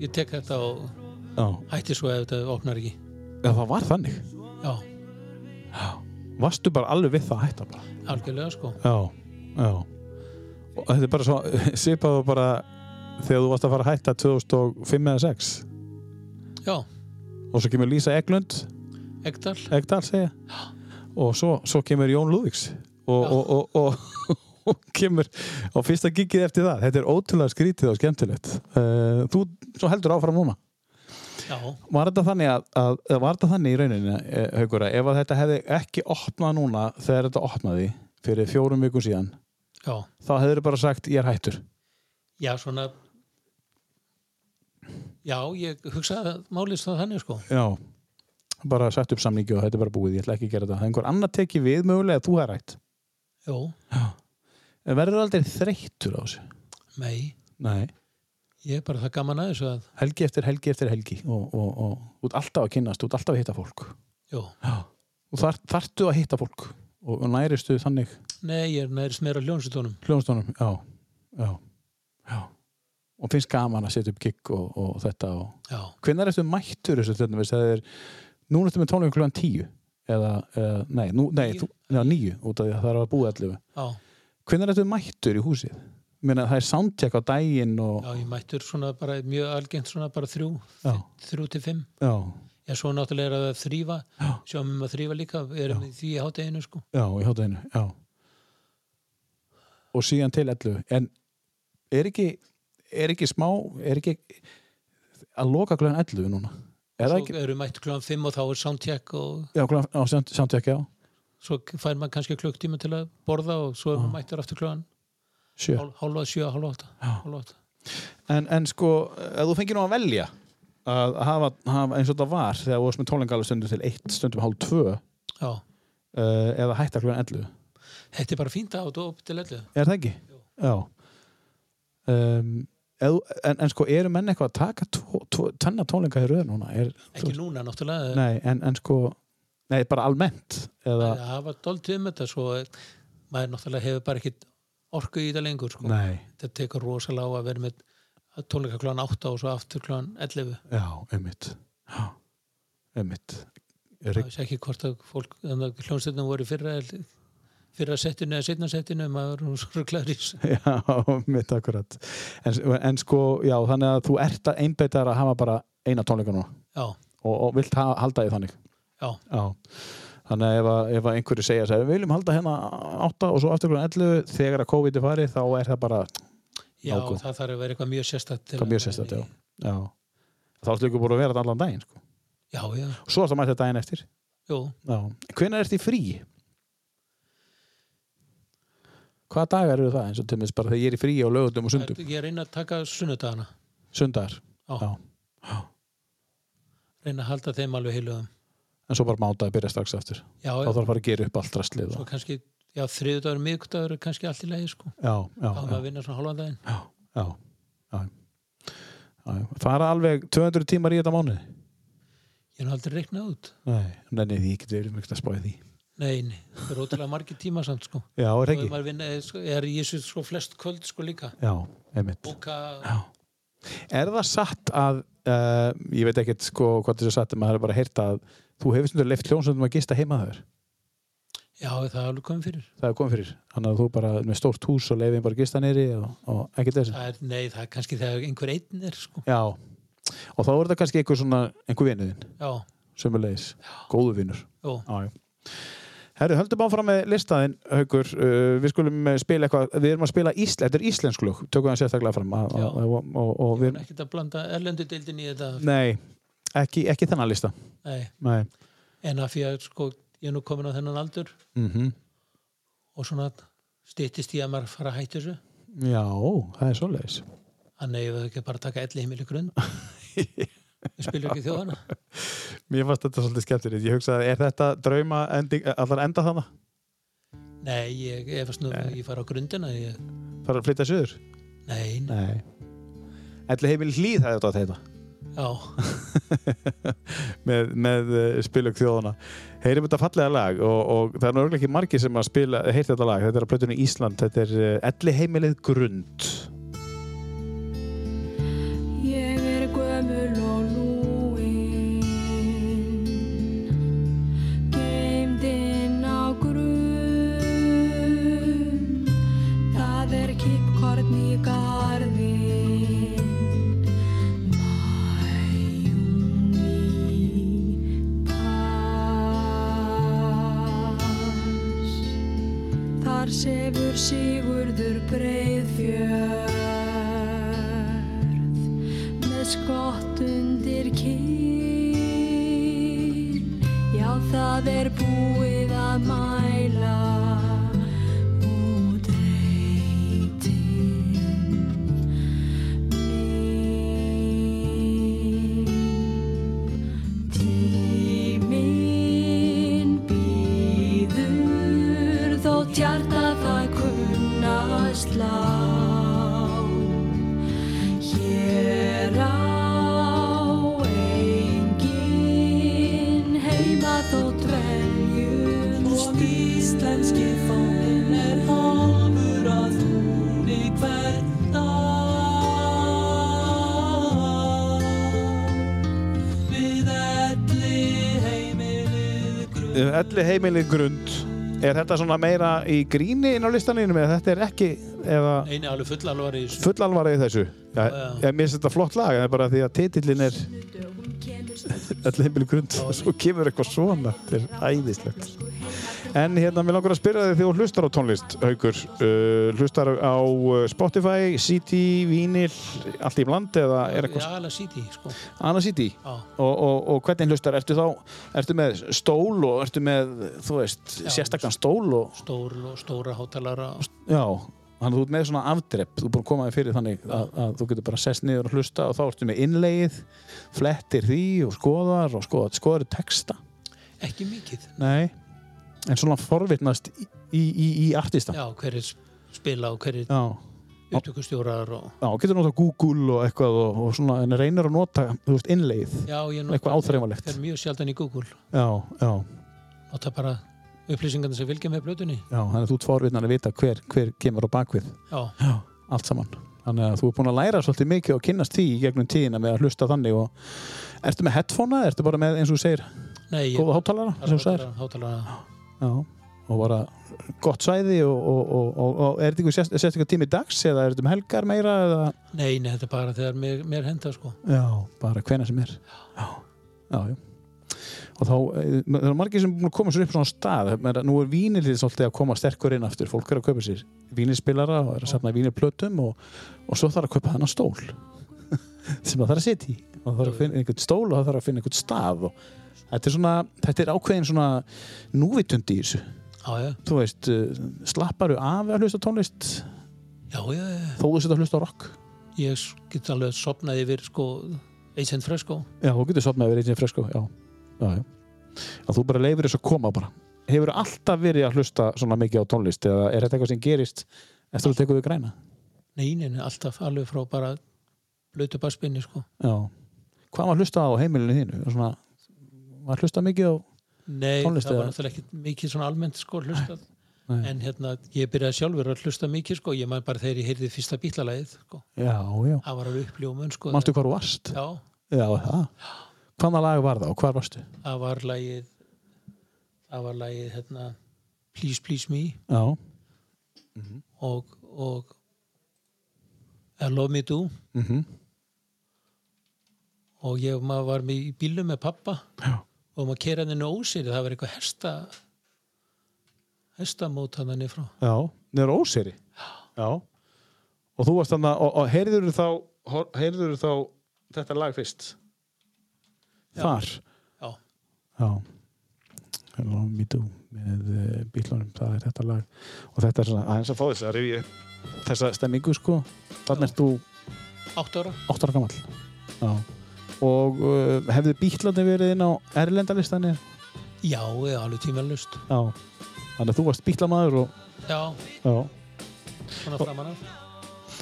B: ég tek þetta og
A: Já,
B: hætti svo ef þetta opnar ekki
A: en það var þannig.
B: já,
A: Vastu bara alveg við það að hætta bara.
B: algjörlega sko
A: Já, já. Og þetta er bara svo, svipaðu bara þegar þú varst að fara að hætta 2005 eða 6
B: já,
A: og svo kemur Lísa Eglund,
B: Egdal,
A: Egdal segja og svo, svo kemur Jón Lúðvíks og,
B: Já.
A: og, og, og, og kemur og fyrsta gigið eftir það þetta er ótrúlega skrítið og skemmtilegt uh, þú svo heldur áfram núna
B: já,
A: var þetta þannig að, að eða var þetta þannig í rauninni eh, haukur að ef að þetta hefði ekki opnað núna þegar þetta opnaði fyrir fjórum vikum síðan
B: já
A: þá hefur bara sagt ég er hættur
B: já, svona já, ég hugsaði að málið stóð þannig sko
A: já bara sett upp samningi og þetta er bara búið, ég ætla ekki að gera þetta Það er einhver annar tekið við mögulega að þú er hætt
B: já,
A: en verður aldrei þreyttur á þessu
B: mei,
A: nei
B: ég er bara það gaman að þessu að
A: helgi eftir helgi eftir helgi og, og, og út alltaf að kynnast, út alltaf að hitta fólk
B: já,
A: og þar, þartu að hitta fólk og, og næristu þannig
B: nei, ég er nærist meira hljónsutónum
A: hljóðstónum, já, já, já og finnst gaman að setja upp gig og, og þetta og
B: já,
A: hvernig er þetta mættur þessu þetta, veist, það er, núna ertu með tónleikum klukkan tíu eða, eða nei, nú, nei,
B: Níu.
A: þú, já, níu út af því að það er að búa allifu
B: já,
A: hvernig er þetta mættur í húsið? Ég Meina, það er soundcheck á daginn og
B: já, ég mættur svona bara mjög algengt svona bara þrjú
A: Já.
B: þrjú til fimm
A: já,
B: Já, svo náttúrulega er að þrýfa,
A: Já.
B: sjáum við um að þrýfa líka, við erum í því í hátteginu sko.
A: Já, í hátæðinu, já. Og síðan til 11. En er ekki, er ekki smá, er ekki að loka klöðan 11 núna? Er það
B: Svo
A: ekki?
B: erum mætt kljóðan 5 og þá er soundcheck og
A: Já, klöðan, á, samt, samt ekki á.
B: svo fær maður kannski klukktíma til að borða og svo erum við mættur aftur kljóðan
A: Sjö.
B: hálfa sjö, hálfa átta. Hálfa átta.
A: En, en sko, ef þú fengir nú að velja að hafa, hafa eins og þetta var þegar þú varst með tónleika alveg stundum til 1, stundum hálf 2 uh,
B: Já,
A: eða hætta klöðan 11.
B: þetta er bara fínt að átta upp til öllu.
A: Er það ekki? Já. Um, eð, en, en sko, eru menn eitthvað að taka tvo, tvo, tennar tónleika í röð núna? Er, þú-
B: Ekki núna náttúrulega,
A: Nei, en, en sko Nei, bara almennt eða...
B: það hafa doldið um þetta svo eh, maður náttúrulega hefur bara ekkit orku í þetta lengur sko.
A: Nei,
B: Þetta tekur rosalega á að vera með tónleika kljóðan 8 og svo aftur kljóðan 11.
A: já, einmitt Já, einmitt
B: Það
A: Rik...
B: veist ekki hvort að fólk hljónstætnum voru í fyrra fyrra settinu eða setna settinu maður er nú svo rugglaður í þessu
A: Já, einmitt akkurat en, en sko, já, þannig að þú ert að einbeitaðar að hafa bara eina tónleika núna
B: já,
A: og, og vilt ha halda því þannig
B: já,
A: Já Þannig að ef, að, ef að einhverju segja þess að við viljum halda hérna átta og svo aftur klukkan 11 þegar að COVID er farið þá er það bara
B: já
A: Nákvæm.
B: það þarf að vera eitthvað mjög sérstætt
A: það mjög sérstætt, já. já Þá ertu ekki búin að vera þetta allan daginn sko.
B: já, já,
A: Svo ertu að mæta daginn eftir
B: jú,
A: Já. Hvenær ert í frí? Hvaða dagar eru það eins og til dæmis bara þegar ég er í frí á lögutum og sundum?
B: ég er að reyna að taka sunnudagana
A: Sundar,
B: já,
A: Já.
B: reyna að halda þeim alveg heilugum
A: en svo bara mátaði byrja strax aftur.
B: já,
A: Þá þarf
B: já,
A: að fara að gera upp allt rastlið.
B: svo
A: Og...
B: kannski já, þriðudagur, miðgudagur er kannski allt í lagi sko,
A: Já, já,
B: þá er maður
A: já,
B: að vinna svona hálfan daginn
A: já, já, já, já. Fara alveg 200 tímar í þetta mánuði?
B: ég er nú aldrei reiknað út
A: Nei, nenni því, ég get verið mjög að spáði því.
B: nei, nei, það er ótrúlega margir tíma samt sko
A: Já, er
B: og
A: ekki?
B: maður vinna, eh, sko, er í þessu sko flest kvöld sko líka
A: Já, einmitt.
B: bóka,
A: Er það satt að, uh, ég veit ekkert sko hvað þessu satt, en maður er bara að heyrta að þú hefur stundur leift hljónsöndum að gista heima þaður?
B: já, það er alveg komið fyrir
A: það er komið fyrir þannig að þú bara með stórt hús og leiðin bara gista nýri og, og ekkert þessi
B: Það er, nei, það er kannski þegar einhver einn er sko.
A: já, og þá er þetta kannski einhver svona einhver vinuðinn
B: Já,
A: sem er leiðis, góðu vinur
B: já,
A: já, já. Herru, höldum áfram með listaðinn haukur, uh, við skulum eh, spila eitthvað við erum að spila Ísla, þetta er íslensk lög tökum það sérstaklega fram að,
B: Já.
A: að, að, og, og, og
B: við
A: við
B: erum ekkert að blanda erlendu deildin í þetta
A: nei, ekki, ekki þennan lista
B: nei.
A: nei,
B: en af því að sko, ég er nú komin á þennan aldur
A: mm
B: og svona stýttist ég að maður fara að hætti þessu
A: já, það er svoleiðis
B: þannig að ég ekki bara að taka elli heimili grunn við spilum ekki þjóðana
A: mér fannst þetta svolítið skemmtilegt, ég hugsaði, er þetta drauma ending, allar enda þannig,
B: Nei, ég efast nú um ég fara á grundina ég,
A: fara að flytja söður
B: Nei, nei,
A: Nei Ætli heimil hlýð hefði þetta að heita
B: já,
A: með, með uh, spilug þjóðana heyrim þetta fallega lag og, og það er náttúrulega ekki margir sem að spila heyrt þetta lag, þetta er að plötunni Ísland þetta er uh, Ætli heimilið grund
F: Ég er guð Þar sefur Sigurður breiðfjörð með skott undir kýr. Já, það er búið að mæla út reytin mín. Tíminn býður þótt hjarta það kunna að slá. Hér á enginn heima þótt veljum
D: Og íslenski fáninn er hálfur að húni hvern dag. Við elli heimilið grunn.
A: Eh, Elli heimilið grund Er þetta svona meira í gríni inn á listaninu eða þetta er ekki eða
B: eini alveg full alvar í þessu
A: full alvarið þessu Já,
B: já.
A: ég mér finnst þetta flott lag en það er bara því að titillin er
F: dögum kemur stund.
A: Elli heimilið grund og svo kemur eitthvað svona þetta er æðislegt En hérna, mér langar að spyrja þig því þú hlustar á tónlist, Haukur uh, Hlustar á uh, Spotify, CD, Vínil, allt í bland eða er eitthvað
B: Ala City sko já,
A: annað CD og, og, og hvernig hlustar, ertu þá ertu með stól og ertu með þú veist, sérstakkan stól og,
B: stór og stóra hátalara og
A: já, þannig að þú ert með svona afdrepp þú er búin að koma þér fyrir þannig að, að þú getur bara sest niður og hlusta og þá ertu með innlegið flettir því og skoðar og skoðar, skoðar texta
B: ekki mikið
A: nei, en svona forvitnast í, í, í, í artista já,
B: já, hverjir spila og hverjir
A: já,
B: upptökustjórar og
A: og getur nota Google og eitthvað og, og svona, en reynir að nota, þú veist, innlegið
B: já, ég nota-
A: eitthvað áþreifanlegt
B: fer mjög sjaldan í Google
A: já, já
B: og það bara upplýsingarna sem fylgja með blötunni
A: Já, þannig að þú ert forvitnar að vita hver, hver kemur á bakvið
B: já,
A: allt saman. Þannig að þú ert búin að læra svolítið mikið og kynnast því í gegnum tíðina með að hlusta þannig og ertu með headphone eða ertu bara með eins og þú segir
B: nei, ég
A: góða hátalara eins og þú segir?
B: hátalara
A: Já, og bara gott svæði og, og, og, og, og er þetta eitthvað sérst eitthvað tími dags eða er þetta um helgar meira eða
B: nei, nei, þetta er bara þegar mér, mér henda sko
A: já, bara hvena sem er. Já, já, já. Og þá, eh, það er margir sem er búin að koma sér upp svona stað, menn að nú er vínilið svolítið að koma sterkur inn aftur, fólk er að kaupa sér vínilspilara og er að safna vínilplötum og, og svo þarf að kaupa þennan stól sem það þarf að sitja í og það þarf að finna einhvern stól og það þarf að finna einhvern stað og þetta er svona, þetta er ákveðin svona núvitundi í þessu
B: já, já,
A: þú veist, eh, slapparu af að hlusta á tónlist
B: já, já, já.
A: þó þú setja að hlusta á rock
B: ég get alveg sopnað yfir sko Eisend Fresco
A: Já, þú getur sopnað yfir einnig fresko Já, já, já Að þú bara leifir þess að koma bara Hefur alltaf verið að hlusta svona mikið á tónlist eða er þetta eitthvað sem gerist eftir að þú tekur við græna?
B: nei, nei, nei, alltaf alveg frá bara blötu basspinni sko
A: Já Hvað var hlusta á heimilinu þínu? Svona, var hlusta mikið á
B: nei,
A: Tónlist
B: það var
A: eða?
B: náttúrulega ekki mikið svona almennt sko hlustað
A: Nei.
B: en hérna, ég byrjaði sjálfur að hlusta mikið sko, ég man bara þegar ég heyrði fyrsta bílalæðið sko,
A: Já, já
B: það var alveg uppljómun sko
A: Manstu hvar þú varst?
B: já,
A: Já, það Hvaða lag var það og hvar varstu?
B: það var lagið það var lagið hérna Please Please Me
A: Já,
B: og, og I Love Me Do
A: mhm,
B: og ég maður var með í bílum með pappa
A: Já.
B: og maður kerði henni ósýri það var eitthvað hesta hestamót hann henni frá
A: já Niður á óseri? Já Og þú varst þannig og, og heyrður þá, heyrður þá þetta lag fyrst? Þar?
B: já,
A: Já Hello Me Do með uh, bílunum, það er þetta lag og þetta er svona aðeins að fá þess að rifja upp þessa stemmingu sko þannig ert þú
B: átt ára
A: 8 ára gamall Já og uh, hefðu bílandi verið inn á erlendalistanni já,
B: já, eða alveg tímalust
A: þannig að þú varst bílamaður og,
B: já,
A: já.
B: svona framan af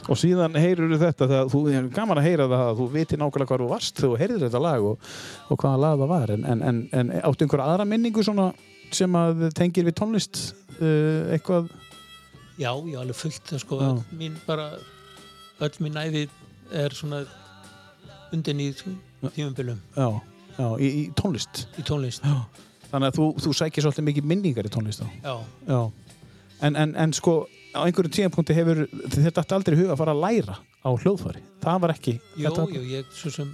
A: og síðan heyrur þetta þegar þú er gaman að heyra það að þú viti nákvæmlega hvar þú varst þegar þú heyrðir þetta lag og, og hvaða lag það var en, en, en, en áttu einhverja aðra minningu svona sem að tengir við tónlist uh, eitthvað
B: já, já, alveg fullt sko,
A: Já.
B: öll mín bara öll mín æfi er svona undin í tímumbilum
A: já, já, í, í tónlist
B: í tónlist,
A: já. þannig að þú, þú sækir svolítið mikið minningar í tónlist þá
B: já,
A: já. En, en, en sko á einhverjum tíðanpunkti hefur þetta datt aldrei í huga að fara að læra á hljóðfari það var ekki
B: Jú,
A: þetta,
B: jú, ég svo sem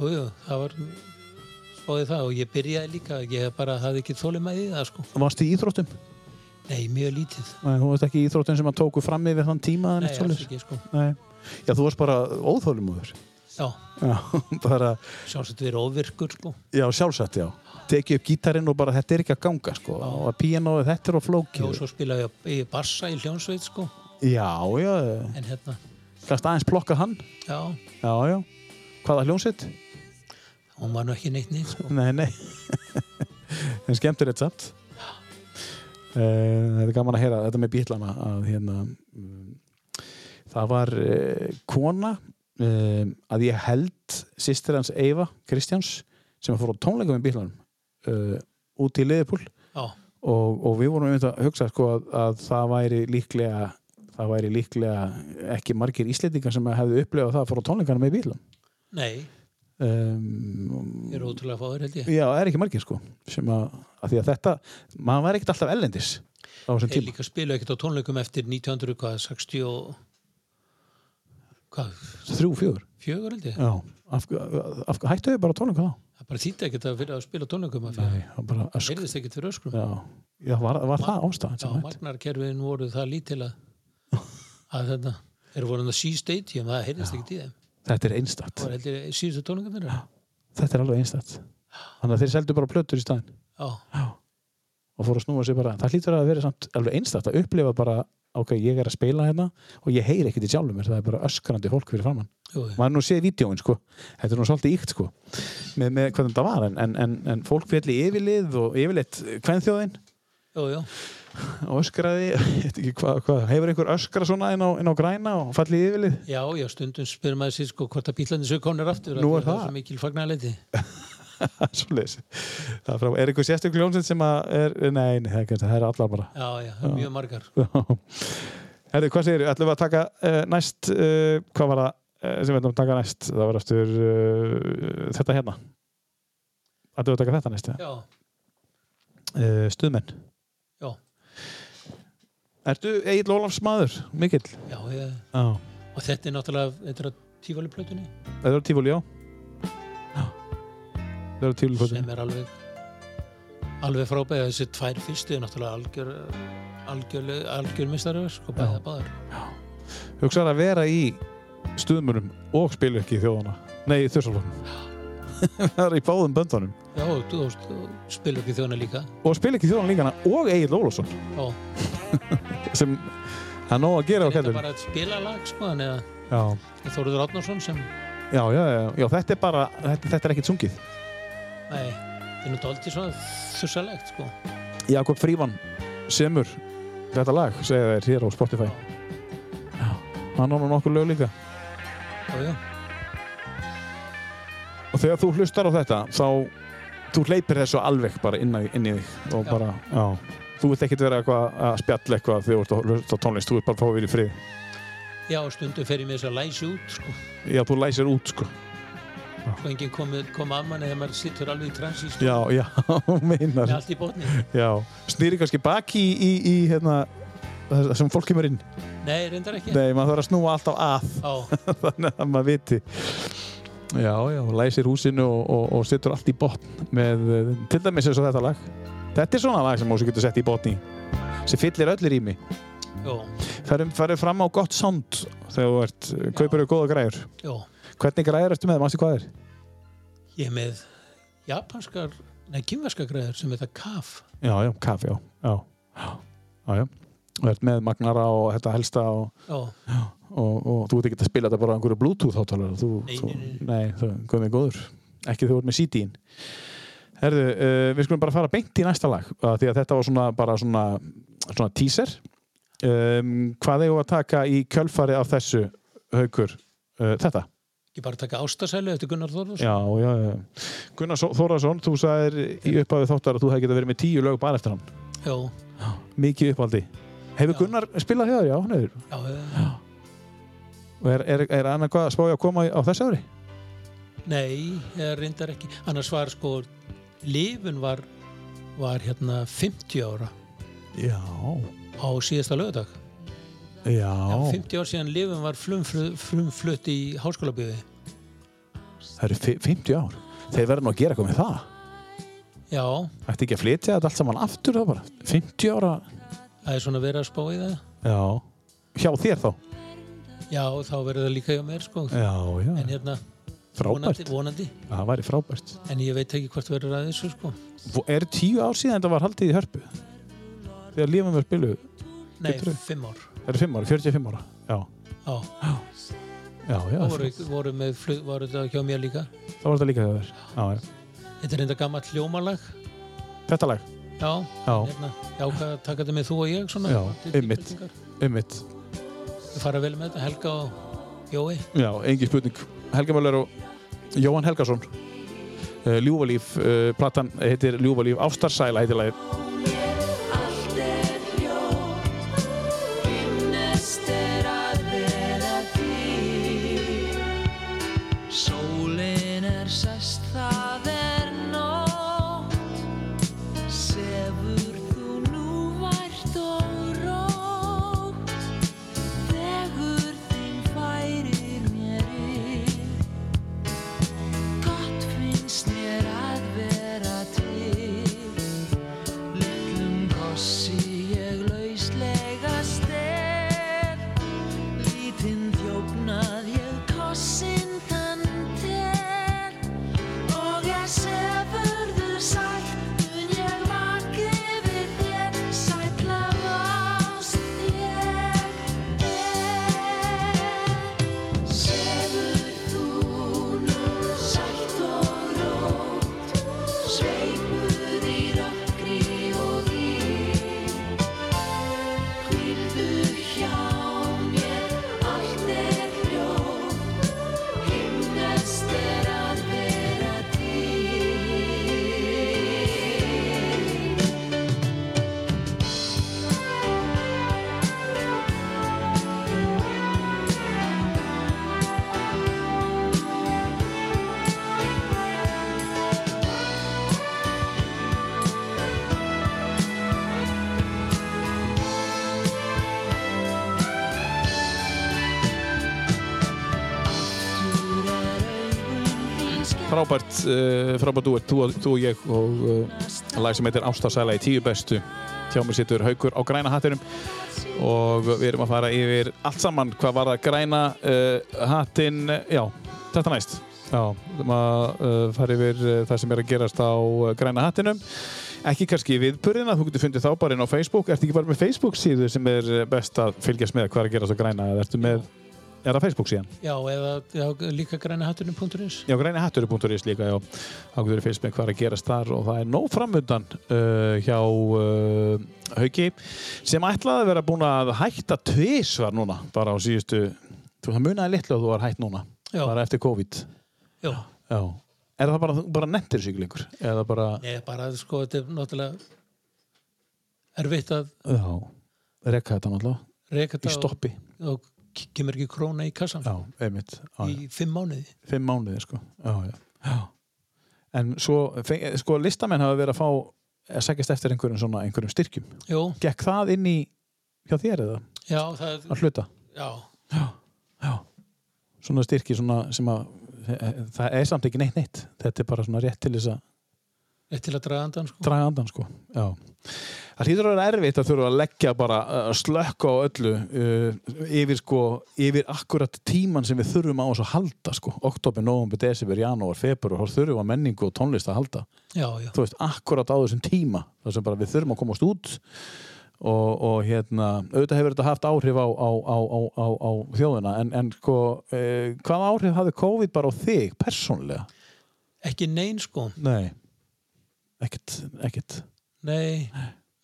B: Jú, jú, það var spáði það og ég byrjaði líka ég bara hafði ekki þólið með því það sko
A: varst í íþróttum
B: Nei, mjög lítið.
A: Nei, þú veist ekki í íþróttin sem að tóku fram yfir þann tíma eða
B: Nei,
A: neitt
B: alls
A: svoleiðis?
B: ekki, sko.
A: Nei. Já, þú varst bara óþólumöður.
B: Já,
A: Já, bara,
B: sjálfsagt verið ofvirkur, sko.
A: já, sjálfsagt, já. Tekið upp gítarinn og bara þetta er ekki að ganga, sko. Og að píanóið, þetta er á
B: Já,
A: flókið.
B: svo spilaði ég, ég bassa í hljónsveit, sko.
A: Já, já,
B: En hérna,
A: kannst aðeins plokka hann.
B: já,
A: Já, já. Hvaða hljónsitt?
B: hún var nú ekki neitt neitt, sko.
A: Nei, nei. en skemmtur þetta samt. Uh, þetta er gaman að heyra þetta með bílana að hérna um, það var uh, kona um, að ég held sýstir hans Eyva Kristjáns sem fór á tónleika með bílanum uh, út í Liðipúl
B: Já,
A: og, og við vorum einmitt að hugsa sko, að, að það væri líklega það væri líklega ekki margir íslendingar sem hefðu upplefað það að fór á tónleikana með bílan
B: nei,
A: um,
B: ég er ótrúlega fáður, held ég.
A: Já, það er ekki margir sko sem að, að því að þetta, maður var ekkert alltaf ellendis á þessum
B: Ég
A: tíma
B: líka spilaði ekkert á tónleikum eftir 1960 og... Hvað,
A: þrjú, fjögur
B: fjögur, held ég?
A: Já, af, af, hættu þau bara tónleika þá
B: Það bara þýtti ekkert að fyrir að spila á tónleikum af því að
A: Nei, það bara ösk
B: heyrðist ekkert fyrir öskrum.
A: Já, já var, var það ástæðan
B: Já,
A: sem hætt
B: magnarkerfiðin voru það lítil að, að þetta, þeir voru hann að sí stadium, það heyrðist ekkert í þeim.
A: Þetta er einstætt,
B: Það var heldur síðustu tónleikum þeirra.
A: þetta er alveg einstætt Þannig að þeir seldu bara plötur í staðinn
B: Já,
A: og fóru að snúa sig bara, það hlýtur að vera samt alveg einstætt að upplifa bara ok, ég er að spila hérna og ég heyri ekkert í sjálfum mér, það er bara öskrandi fólk fyrir framann
B: jú, jú.
A: maður nú séð vídjóin sko þetta er nú svolítið íkt sko með, með hvernig þetta var en, en, en, en fólk fjalli yfirlið og yfirleitt kvenþjóðin
B: jú, jú.
A: og öskraði ég veit ekki hvað, hvað, hefur einhver öskra svona inn á, inn á græna og fallið yfirlið
B: Já, já, stundum spyrir maður sér sko hvort að bílarnir séu komnir aftur. af
A: Nú
B: því
A: er
B: að
A: það.
B: er svo mikil fagnarleiti.
A: Svoleiðis. það er, frá, er einhver sérstök ljónsett sem að er, nei, nei, það er, ekki- það er allar bara
B: Já, já, það er mjög margar.
A: Herri, hvað segir, ætlum við að taka uh, næst, uh, hvað var það uh, sem við ætlum að taka næst, það var eftir uh, þetta hérna ætlum við að taka þetta næst
B: Já,
A: uh, stuðmenn
B: já,
A: Ertu Egil Ólafs maður? Mikill?
B: já, já.
A: Já.
B: Og þetta er náttúrulega, þetta er að tífali plötunni
A: Það eru tífúli, já. Já. Það eru tífúli fótum.
B: sem er alveg, alveg frábæð. Þessi tvær fyrstu er náttúrulega algjör, algjör, algjör mistari, sko, bæða báðar.
A: Hugsaðar að vera í stuðmunum og spilu ekki í þjóðana. Nei, í þjóðsalvunum. Það er í báðum böndunum.
B: Já, og þú veist, og spila ekki þjóna líka.
A: Og spilu ekki í þjóðana líka hana og Egil Ólafsson
B: Já,
A: sem hann nóg að gera á
B: þetta er
A: kællinu.
B: bara að spila lag, sko, þannig að
A: Já.
B: Þóruður Átnarsson sem,
A: Já, já, já, já, þetta er bara, þetta, þetta er ekkert sungið.
B: nei, þetta er nú dálítið svona þussalegt, sko.
A: Jakob Fríman semur þetta lag, segja þeir hér á Spotify. Já, hann ánum nokkur lög líka.
B: Já, já,
A: og þegar þú hlustar á þetta þá þú hleypir þessu alveg bara inn, að, inn í þig og
B: Já.
A: bara, já, þú vilt ekkert vera eitthvað að spjalla eitthvað þegar þú ert að hlusta á tónlist þú vilt bara fá að vera í frið
B: já, stundum fer ég með þess að læsi út, sko.
A: já, þú læsir út, sko
B: og enginn kom, kom af manni þegar maður sittur alveg í transís
A: já, já, meinar
B: með allt í botni
A: já, snýri kannski baki í, í, í hérna, það sem fólk kemur inn
B: nei, reyndar ekki
A: nei, maður þarf að snúa alltaf að
B: Á,
A: þannig að maður viti já, já, læsir húsinu og, og, og setur allt í botn með, eh, til dæmis eins og þetta lag þetta er svona lag sem Ósi getur sett í botni sem fyllir öllir í mig
B: jó,
A: Færum, færum fram á gott sound þegar þú ert, kaupir þú góða græður
B: jó.
A: hvernig græður ertu með, mástu hvað er?
B: ég er með japanskar nei, kynverska græður sem heita kaf
A: já, já, kaffi, já já, já, já og ert með magnara og þetta helsta og,
B: já,
A: og, og þú ert ekki að spila þetta bara á einhverju bluetooth átalara þú,
B: Nei,
A: þú,
B: nei,
A: nei, þú, hvað með góður ekki þú ert með CD-in herðu, uh, við skulum bara fara beint í næsta lag uh, því að þetta var svona, bara svona svona teaser um, hvað eigum við að taka í kjölfari af þessu haukur uh, þetta
B: ég bara taka ástasælu eftir Gunnar Þorðurs
A: Já, já, já. Gunnar Só- Þórðarsson, þú sagðir í upphafi þáttar að þú hefði getað verið með tíu lög bara eftir hann.
B: já,
A: Mikið upphaldi. Hefur
B: Já.
A: Gunnar spilað hjá þér? Já, hann hefur.
B: já, já.
A: Og er, er, er annað hvað að spája að koma í- á þessu ári?
B: nei, ég reyndar ekki annars var sko lifun var, var hérna 50 ára
A: Já.
B: á síðasta lögadag
A: Já.
B: Já, 50 ár síðan lifun var frumflu- frumflutt í háskóla
A: Það eru fi- 50 ár. Þeir verður nú að gera eitthvað með það.
B: já,
A: Ætti ekki að flytja þetta allt saman aftur þá bara. 50 ára
B: það er svona verið að spá í það
A: Já. Hjá þér þá?
B: já, þá verður það líka hjá mér sko
A: Já, já.
B: en hérna, vonandi,
A: Frábært.
B: vonandi
A: Það væri frábært.
B: en ég veit ekki hvort verður að þessu sko
A: Vo- Er tíu ár síðan þetta var haldið í hörpu? Þegar lífum við spilu,
B: nei,
A: Geturðu?
B: fimm ár
A: það eru 5 ára, 45 ára. Já,
B: já,
A: já, já.
B: þá voru, voru, með flug, voru það hjá mér líka
A: Það var þetta líka hjá þér. Já, já.
B: þetta er enda gammal hljómalag
A: Þetta lag.
B: já,
A: Já,
B: en hérna, já, hvað taka þetta með þú og ég svona
A: Já,
B: Til
A: einmitt.
B: tilbreytingar.
A: ummitt.
B: Við fara vel með þetta, Helga og Jói
A: Já, engi spurning Helga Möller og Jóhann Helgason uh, Ljúvalíf uh, platan heitir Ljúvalíf Ástarsæla heitir lagið
F: Allt er hljótt, himnest er að vera til. Sólin er sest, það er nótt. Sefur þú nú vært og rótt. Þegur þinn færir mér yfir. Gott finnst mér að vera til. Lillum kossi ég lauslega stel Lítinn þjófnað ég kossin þann tel Og ég sefurðu sætt Mun ég vaki við þér Sætla mást ég er Sefur þú nú sætt og rótt Sveipur í rökkri og vín. Hvíldu hjá mér, allt er hljótt. Himneskt er að vera til.
A: Frábært, uh, frábært duett, þú, og- þú og ég og uh, lag sem heitir Ástarsæla í tíu bestu hjá mér situr haukur á græna hattinum og við erum að fara yfir allt saman hvað var að græna uh, hattin, já, þetta næst já, við erum að uh, fara yfir uh, það sem er að gerast á uh, græna hattinum ekki kannski viðburðina, þú getur fundið þá bara inn á Facebook, ertu ekki bara með Facebook síðu sem er eh, best að fylgjast með hvað er að gerast á græna eða ertu með, er það Facebook síðan?
B: Já, eða já, líka grænahattunum.is
A: Já, grænihattur.is líka, já. Þá getur við fyrst með hvað er að gerast þar og það er nóg framundan uh, hjá uh, Hauki sem ætlaði að vera búin að hætta tvisvar núna, bara á síðustu þú, það munaði litlu að þú var hætt núna
B: Já.
A: bara eftir COVID.
B: Já,
A: Já. Er það bara, þú bara nettir sig lengur? Eða bara,
B: ég bara, sko, þetta er náttúrulega erfitt að
A: já, reka þetta náttúrulega, í
B: reka þetta
A: stoppi.
B: og, og ke- kemur ekki króna í kassan
A: Já, einmitt. Já, já.
B: í fimm mánuði.
A: Fimm mánuði, sko. Já, já. já. En svo, feng- sko, listamenn hafa verið að fá að sækjast eftir einhverjum svona, einhverjum styrkjum.
B: Jú,
A: gekk það inn í hjá þér eða
B: já, það,
A: að hluta
B: já,
A: svona styrki svona sem að e- e- það er samt ekki neitt neitt þetta er bara svona rétt til þess að
B: rétt til að draga andan, sko.
A: draga andan sko já. það hlýtur að vera erfitt að þurfa að leggja bara að slökka á öllu uh, yfir sko yfir akkurat tíman sem við þurfum á þess að halda sko oktober, november, desember, janúar, februar þá þurfum að menningu og tónlist að halda
B: Já, já,
A: þú veist, akkurat á þessum tíma þar sem bara við þurfum að komast út og, og hérna, auðvitað hefur þetta haft áhrif á, á, á, á, á, á þjóðina en, en sko, eh, hvað áhrif hafði COVID bara á þig, persónlega?
B: ekki nein, sko.
A: Nei ekkert, ekkert
B: Nei,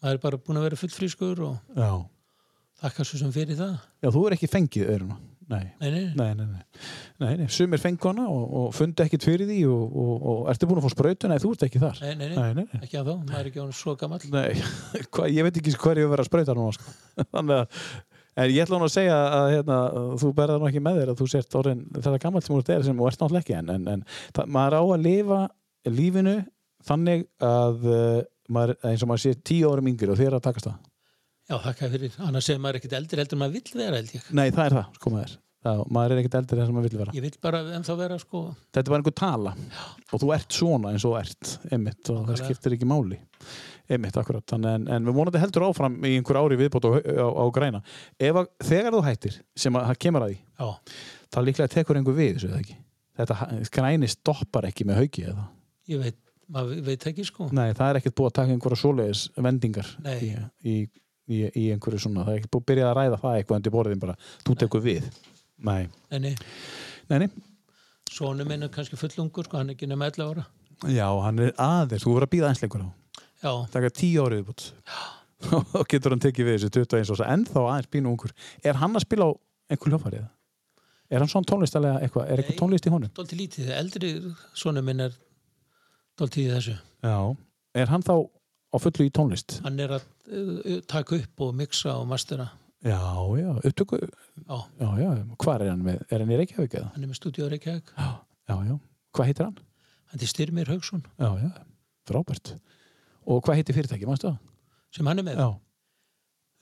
B: maður er bara búin að vera fullfrískur og
A: já.
B: þakka svo sem fyrir það.
A: já, þú er ekki fengið öðruna Nei,
B: Nei, nei,
A: nei, nei, nei, nei, nei. sumir fengu hana og, og fundi ekkert fyrir því og, og, og ertu búin að fá sprautu? Nei, þú ert ekki þar
B: nei, nei, nei,
A: Nei, nei, nei.
B: ekki að þá, maður er ekki án svo gamall.
A: Nei, hva, ég veit ekki hvað ég verið að sprauta núna sko. þannig að En ég ætla hún að segja að hérna, þú berðar nú ekki með þér að þú sért orðin þetta gammal sem þú ert er sem þú ert náttúrulega ekki en, en, en það, maður á að lifa lífinu þannig að uh, maður, eins og maður sé tíu árum yngri og þér að takast það.
B: Já, þakka fyrir, annars er maður ekkit eldri heldur en maður vill vera, held ég.
A: Nei, það er það, sko maður. Já, maður er ekkert eldri þar sem maður vill vera.
B: Ég vil bara ennþá vera sko
A: Þetta var einhver tala og þú ert svona eins og þú ert, einmitt, og það
B: Nákvæmlega.
A: skiptir ekki máli. Einmitt, akkurat. Þannig en, en við vonandi heldur áfram í einhver ári viðbót á, á, á græna. Ef að, þegar þú hættir, sem að það kemur að því,
B: Já,
A: það líklega tekur einhver við, svo það ekki. Þetta ha- græni stoppar ekki með hauki eða.
B: ég veit, maður veit ekki sko
A: Nei, það er ekkert búið að taka einhverja svoleiðis vendingar
B: Nei.
A: í, í, í, í einhverju svona. Það er ekkert búið að byrja að ræða það eitthvað undir borðin bara. Þú tekur við. Nei.
B: Nei, nei,
A: Nei, nei.
B: sonu minn er kannski fullungur sko, hann er ekki nema 11 ára
A: Já, hann er aðeins. Þú voru að býða einsleikur á.
B: Já,
A: taka tíu árið viðbútt og getur hann tekið við þessu 21 og en þá aðeins pínu ungur er hann að spila á einhver hljófarið? Er hann svona tónlistalega eitthvað? Er eitthvað
B: Nei.
A: tónlist í honum?
B: dólti lítið, eldri sonu minn er dólti í þessu
A: Já. Er hann þá á fullu í tónlist?
B: Hann er að uh, taka upp og mixa og mastera
A: Já, já, upptöku
B: Já,
A: Já, já, hvar er hann með? Er hann í Reykjavík eða?
B: hann er með stúdíu á Reykjavík
A: Já, já, já. Hvað heitir hann?
B: Hann er Styrmir Haugsson
A: Já, já, frábært Og hvað heitir fyrirtæki, mannstu það?
B: sem hann er með
A: Já,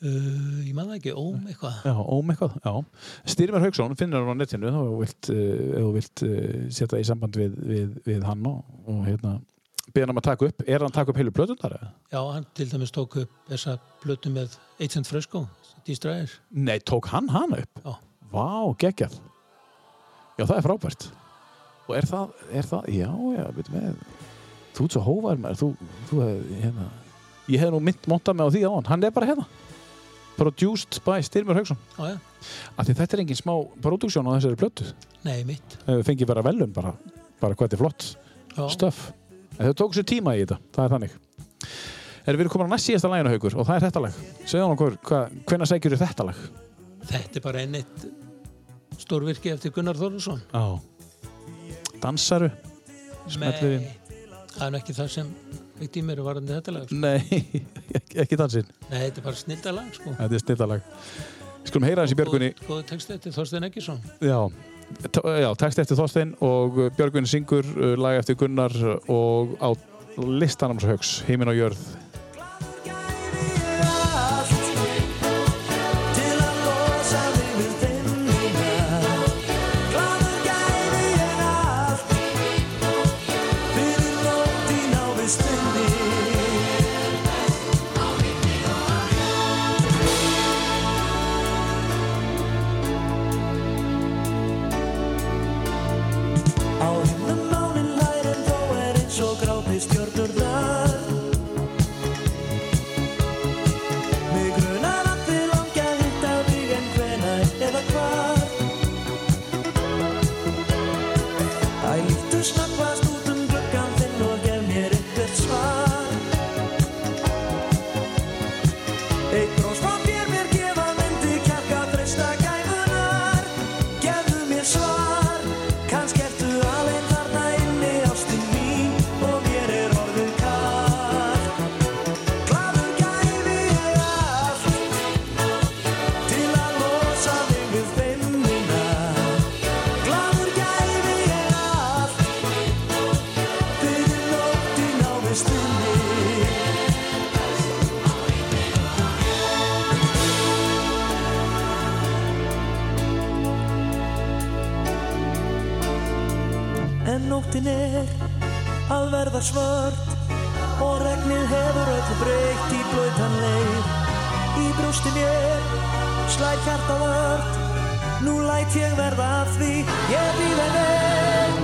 B: uh, Ég man það ekki, óm eitthvað
A: já, óm eitthvað, já. Styrmir Hauksson finnir hann á netinu þá þú vilt, uh, ef þú vilt uh, setja í samband við, við, við hann og, og hérna, beðan hann að taka upp er hann að taka upp heilu plötundar eða?
B: Já, hann til dæmis tók upp þessa blötu með Eitt Eitzend Fröskó, Dístræðir
A: Nei, tók hann hana upp?
B: Já.
A: Vá, geggjað. Já, það er frábært. Og er það, er það, já, já, veitum við, þú ert svo hóvar maður, þú, þú hefði, hérna, ég hefði nú mynd montað með á því á hann, hann er bara hérna. Produced by Styrmur Hauksson.
B: Já, já,
A: Af því þetta er engin smá produksjón á þessari plötu.
B: nei, mitt
A: Eh, Fengið bara velun, bara, bara hvað þetta er flott
B: Já,
A: stöf. En þau tók sér tíma í þetta, það er þannig. Erum við komin að næst síðasta læginu, Haukur, og það er þetta lag. Segðu hann okkur, hvenna sækjur þetta lag?
B: Þetta er bara enn eitt stórvirki eftir Gunnar Þorðarsson
A: Já Dansaru? Smellu
B: Nei, það er nú ekki það sem veikt í mér varðandi þetta lag sko.
A: Nei, ekki- ekki dansinn
B: Nei, þetta er bara snilda lag sko.
A: Þetta er snildalag Skulum heyra hans í Björgunni
B: Góð- Góðu texti eftir Þorstein Eggersson
A: Já, T- já text eftir Þorstein og uh, Björgun syngur uh, lag eftir Gunnar og á listanum svo högs Heimin og jörð
E: Stjórnurnar Mig grunar að þið langi að hitta þig en hvenær eða hvar Æ, líttu snabbast út um gluggan þinn og gef mér eitthvert svar Eitt brós frá þér mér gefa myndi kjarka treysta gæfunar Gefðu mér svar, kannski ertu alveg þarna inni ástin mín og mér er orðið kall Glaður gæfi ég allt til að losa þig við feimnina. Glaður gæfi ég allt fyrir nóttina við stundinni. En nóttin er að verða svört og regnið hefur öllu breytt í blöytan leir. Í brjósti mér slæð hjarta vörd, nú læt ég verða af því ég býð en er.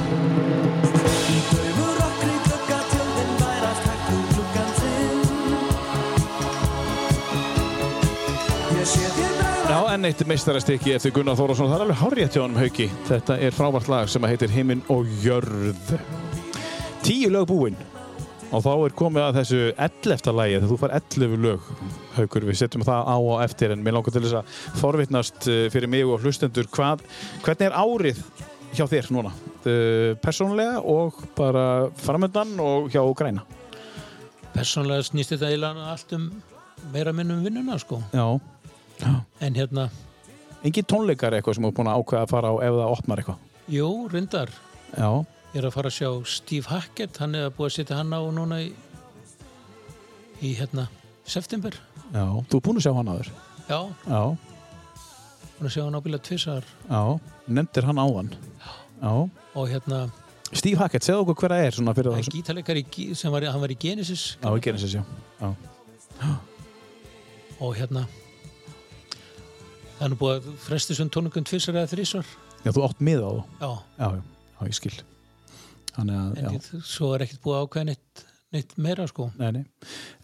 E: Í daumur okkur í glugga tjöldin værast hægt úr gluggan þinn. Ég sé þér bregða.
A: Já, enn eitt meistarastykki eftir Gunnar Þórásson Það er alveg hárjætt hjá honum hauki Þetta er frábært lag sem að heitir Heimin og jörð Tíu lög búinn Og þá er komið að þessu 11. lagi þegar þú fær 11 lög haukur, við setjum það á og eftir en mér langar til þess að forvitnast eh, fyrir mig og hlustendur hvað, hvernig er árið hjá þér núna Eh, persónulega og bara framöndan og hjá græna
B: Persónlega snýst þetta eiginlega allt um meira minn um vinnuna sko.
A: Já,
B: en hérna,
A: engin tónleikar eitthvað sem þú er búin að ákveða að fara á ef það opnar eitthvað
B: jú, reyndar
A: Já,
B: ég er að fara að sjá Steve Hackett hann er að búið að setja hann á núna í, í hérna, september
A: já, þú er búin að sjá hann aður
B: Já,
A: Já,
B: búin að sjá hann ábyggilega tvissar
A: Já, nefndir hann áðan. Já.
B: og hérna,
A: Steve Hackett, segðu okkur hver það er svona fyrir það
B: það er
A: sem...
B: gítarleikari gí- sem var, hann var í Genesis
A: Já, við gerum þessi, já. Já.
B: og hérna það er nú búið að fresti svona tónungum tvissar eða þrísar
A: Já, þú átt mið á þú.
B: já,
A: Já, já, já, ég skil. Þannig að,
B: en
A: já.
B: ég, svo er ekkert búið að ákveða neitt, neitt meira sko
A: Nei, nei.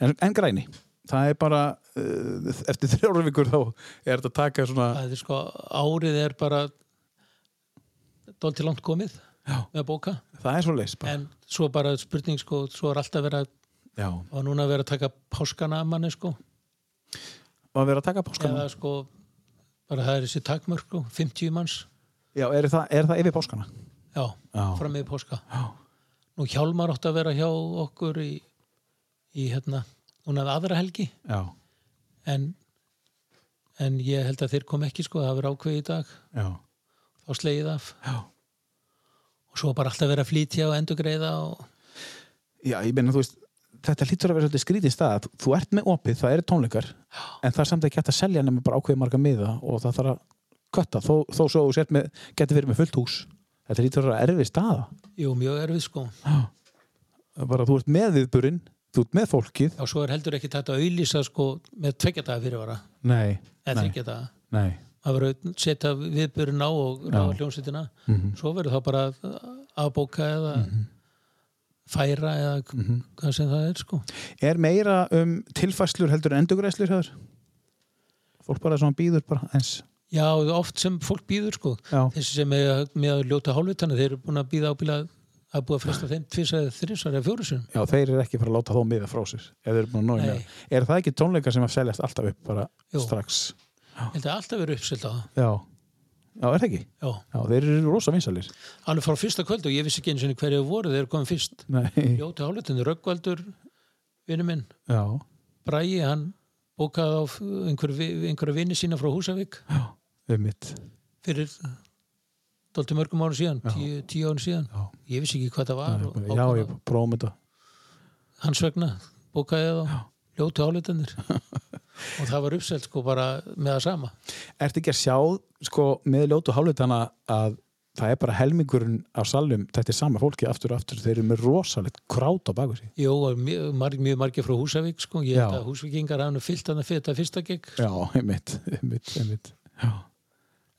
A: En, en græni, það er bara, uh, eftir þrjóra vikur þá er þetta að taka svona,
B: það er sko, árið er bara dólti langt komið
A: Já.
B: með að bóka
A: það er svo leys bara.
B: en svo bara spurning sko, svo er alltaf verið að
A: Já,
B: og núna verið að taka páskana að manni sko
A: var verið að taka páskana?
B: eða sko, bara það er þessi takmörk sko, 50 manns,
A: Já, er það, er það yfir páskana?
B: já,
A: Já.
B: fram með páska
A: Já.
B: nú Hjálmar átti að vera hjá okkur í, í hérna, hún hafði aðra helgi
A: Já,
B: en, en ég held að þeir kom ekki sko, það verið ákveð í dag
A: já,
B: þá slegið af
A: já.
B: og svo bara alltaf verið að flytja og endurgreiða og
A: Já, ég meina, þú veist, þetta hlýtur að vera svolítið skrítið stað. Þú- Þú ert með opið, það eru tónleikar, en það er samt ekki hægt að selja nema bara ákveðið marga miða og það þarf að kötta, þó, þó svo þú sért með, getur verið með fullt hús. Þetta hlýtur að vera erfið staða.
B: jú, mjög erfið sko
A: Það er Bara þú ert með viðburinn, þú ert með fólkið.
B: Já, svo er heldur ekki þetta að auðlýsa sko með tveggjadaga fyrirvara
A: Nei,
B: eða
A: Nei.
B: þryggjadaga
A: nei,
B: maður verður að setja viðbyrun á og ráða hljómsveitina
A: Mhm.
B: svo verður þá bara að afbóka eða færa eða
A: Mhm.
B: hvað sem það er sko
A: Er meira um tilfæslur heldur en endugræslur hefur? Fólk bara svona býður bara eins.
B: já, oft sem fólk býður sko
A: Já,
B: þessi sem er með að ljóta hálfvitana þeir eru búin að býða ábyrða að búið að fresta þeim tvisar eða þrisar eða fjórusun
A: Já, þeir eru ekki að fara að láta þá miða frá sér ef þeir eru búin að nóg
B: Nei.
A: með. það. Er það ekki tónleikar sem að seljast alltaf upp bara
B: Jú.
A: strax?
B: ég held að alltaf verið uppselt á það
A: Já. Já, er það ekki?
B: já,
A: Já, þeir eru rosa vinsalir.
B: alveg frá fyrsta kvöld og ég vissi ekki eins og hverju voru þeir eru komið fyrst
A: Nei.
B: ljóta hálfvitina, Röggvaldur vinnu minn,
A: Já.
B: Bræi hann bókaði á f- einhver- einhverja vini sína frá Húsavík
A: Já, um mitt.
B: fyrir dólti mörgum árum síðan, tíu, tíu árum síðan
A: Já.
B: ég vissi ekki hvað það var og
A: Já,
B: ákvað
A: ég
B: það.
A: prófum þetta.
B: hans vegna bókaði ég þá, ljótu áleitanir og það var uppselt sko bara með það sama
A: Ertu ekki að sjá, sko, með ljótu hálfutana að það er bara helmingurinn á salum, þetta er sama fólki aftur og aftur, þeir eru með rosalegt krát á baku sig.
B: Jó, og mjög, marg, mjög margir frá Húsavík sko, ég held
A: Já.
B: að Húsvíkingar hann fyllt hann að fyrir þetta fyrsta gegg
A: Já, um mitt, um mitt, um mitt. Já.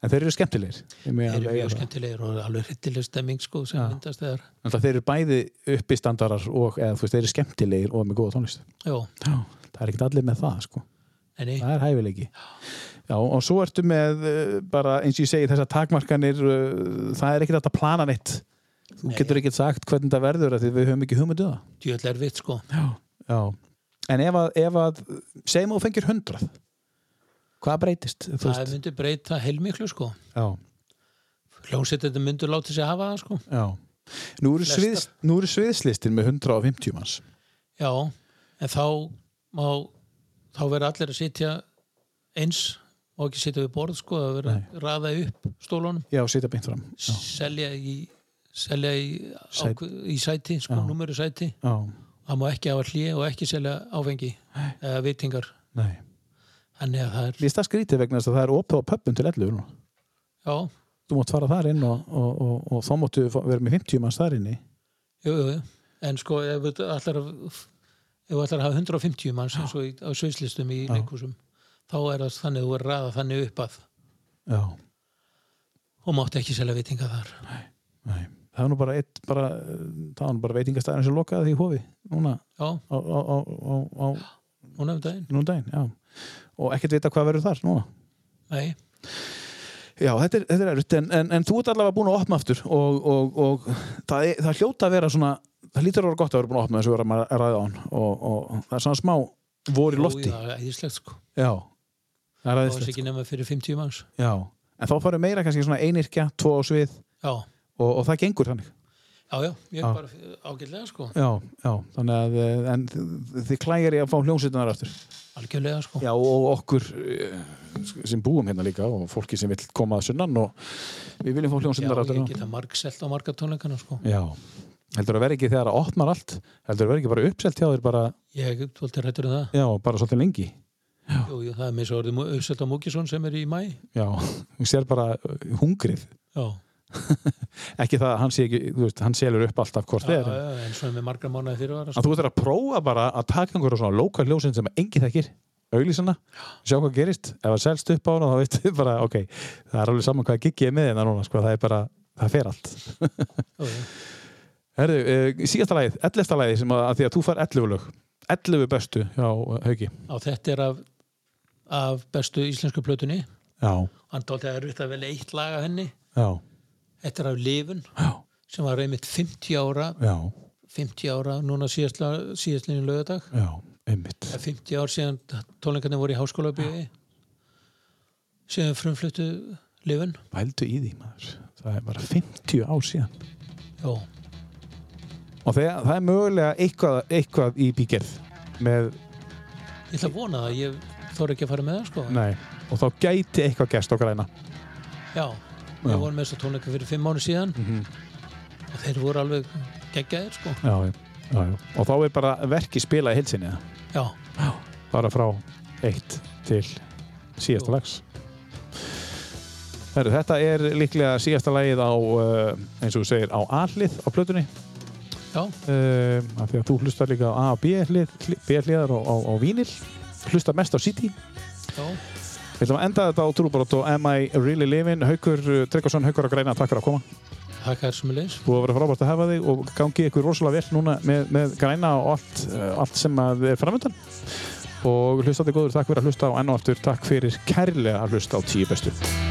A: En þeir eru skemmtilegir. Ég meina,
B: þeir eru
A: alveg
B: mjög
A: eiginlega.
B: skemmtilegir og alveg hryllileg stemming sko sem
A: Já.
B: myndast þegar
A: Þannig að þeir eru bæði uppistandarar og eða þú veist, þeir eru skemmtilegir og með góða tónlist.
B: Jó,
A: Já. Það er ekkert allir með það, sko.
B: enni,
A: Það er hæfileiki. Já, og svo ertu með eh, bara, eins og ég segi, þessar takmarkanir, eh, það er ekkert hægt að plana neitt. Þú getur ekkert sagt hvernig það verður af því við höfum ekki hugmyndu það.
B: djöðlega er vitt sko
A: Já. Já. En ef að, ef að segjum að þú fengir hundrað, hvað breytist? Þú
B: það
A: veist?
B: myndi breyta heilmiklu sko
A: Já.
B: hljónsettindu myndu láti sig hafa það sko
A: Já. Nú eru,
B: Flestar.
A: sviðs, nú eru sviðslistin með 150 manns.
B: Já, en þá má, þá verður allir að sitja eins og ekki sitja við borð sko, það verður að raða upp stólunum,
A: Já, sitja beint fram. Já.
B: selja í selja í,
A: Sæt-
B: ákveð, í sæti sko,
A: Já.
B: númeru sæti,
A: Já.
B: það má ekki hafa hlýja og ekki selja áfengi eða veitingar,
A: Nei.
B: þannig að það er
A: Mér finnst það skrítið vegna þess að það er opið á pöppum til 11 núna.
B: já,
A: Þú mátt fara þar inn og, og, og, og þá máttu fá- vera með 50 manns þar inni.
B: jú, jú, jú. en sko ef við allar að ef við allar að hafa 150 manns eins og í, á sviðslistum í leikúsum þá er það þannig, þú verður að raða þannig upp að
A: Já.
B: og mátt ekki selja veitinga þar
A: Nei. Það var nú bara, eitt, bara, eh, það var nú bara veitingastæðin sem lokaði því í hofi núna
B: já,
A: á, á, á, á, á
B: núna um daginn
A: núna daginn. Já. Og ekkert vita hvað verður þar núna.
B: Nei,
A: Já, þetta er, þetta er erfitt, en, en, en þú ert allavega búin að opna aftur og, og, og það, er, það hljóta að vera svona, það lítur að vera gott að vera búin að opna þessu vera að ræða á hann og, og það er svona smá vor í lofti. sko.
B: það er æðislegt sko
A: Já, það er
B: Það var
A: aðeins
B: ekki nema fyrir 50 manns
A: Já, en þá farið meira kannski svona einirkja, tvo á svið
B: Já,
A: og, og það gengur þannig.
B: já, já, ég
A: Já.
B: er bara ágætlega sko
A: Já, já, þannig að eh, en þi- þið klægir í að fá hljómsveitunar aftur.
B: Algjörlega sko
A: Já, og okkur eh, sem búum hérna líka og fólki sem vill koma að sunnan og við viljum fá hljómsveitunar aftur.
B: ég geta margselt á marga tónleikana sko
A: Já, heldur að vera ekki þegar að opnar allt, heldur að vera ekki bara uppselt hjá þér bara,
B: Ég er tóltir hættur um það
A: já, bara svolítið lengi.
B: Jú, jú, það er með svo orðið Össelda Múkisson sem er í mæ
A: Já, hún sér bara uh, hungrið
B: Já,
A: ekki það að hann sé ekki, þú veist, hann selur upp alltaf hvort
B: já,
A: þeir,
B: já, en svona með margra mánuði fyrirvara
A: en
B: sko.
A: þú veist að prófa bara að taka einhverja svona lokal ljósin sem engi þekkir auglýsana, sjá hvað gerist ef það selst upp á hana þá veistu bara ok, það er alveg saman hvað gigið er með hérna núna sko, það er bara, það fer allt
B: Já, já.
A: Herðu, uh, síðasta lagið, ellesta lagið sem að, að því að þú far 11 lög 11 bestu hjá eh, Hauki
B: Já, þetta er af, af bestu íslensku plötunni
A: Já,
B: Hann tóldi að erfitt að velja eitt lag af henni
A: já,
B: Þetta er af Lifun
A: já,
B: sem var reymitt 50 ára
A: já,
B: 50 ára, núna síðastlinni lögadag
A: já einmitt,
B: Það er 50 ár síðan tónleikarnir voru í háskóla byggi síðan frumfluttu lifun
A: vældu í því maður það er bara 50 ár síðan
B: Já,
A: og þegar, það er mögulega eitthvað, eitthvað í bígerð með,
B: ég ætla að vona það ég þóra ekki að fara með það sko
A: nei, og þá gæti eitthvað gæst okkar hérna. eina
B: Já, Mhm. við
A: Já.
B: vorum með þessa tónleika fyrir 5 mánu síðan og þeir voru alveg geggjaðir sko
A: já, já, já, já. og þá er bara verki spilað í heilsinni
B: Já,
A: bara frá eitt til síðasta
B: Jú.
A: lags Heru, þetta er líklega síðasta lagið á, eh, eins og þú segir, á A-hlið á plötunni
B: já,
A: uh, af því að þú hlustar líka á A og B-hlið B-hliðar á, á, á vínil hlustar mest á City
B: já
A: Við ætlum að enda þetta á Trúbrot og Am I Really Living Haukur eh, Tryggvason, Haukur að greina, takk fyrir að koma
B: Þakka þér sem er leis
A: búið að vera frábært að hafa þig og gangi ykkur rosalega vel núna með, með græna og allt, eh, allt sem að er framöndan og hlustandi góður, takk fyrir að hlusta á enn og aftur, takk fyrir kærlega að hlusta á tíu bestu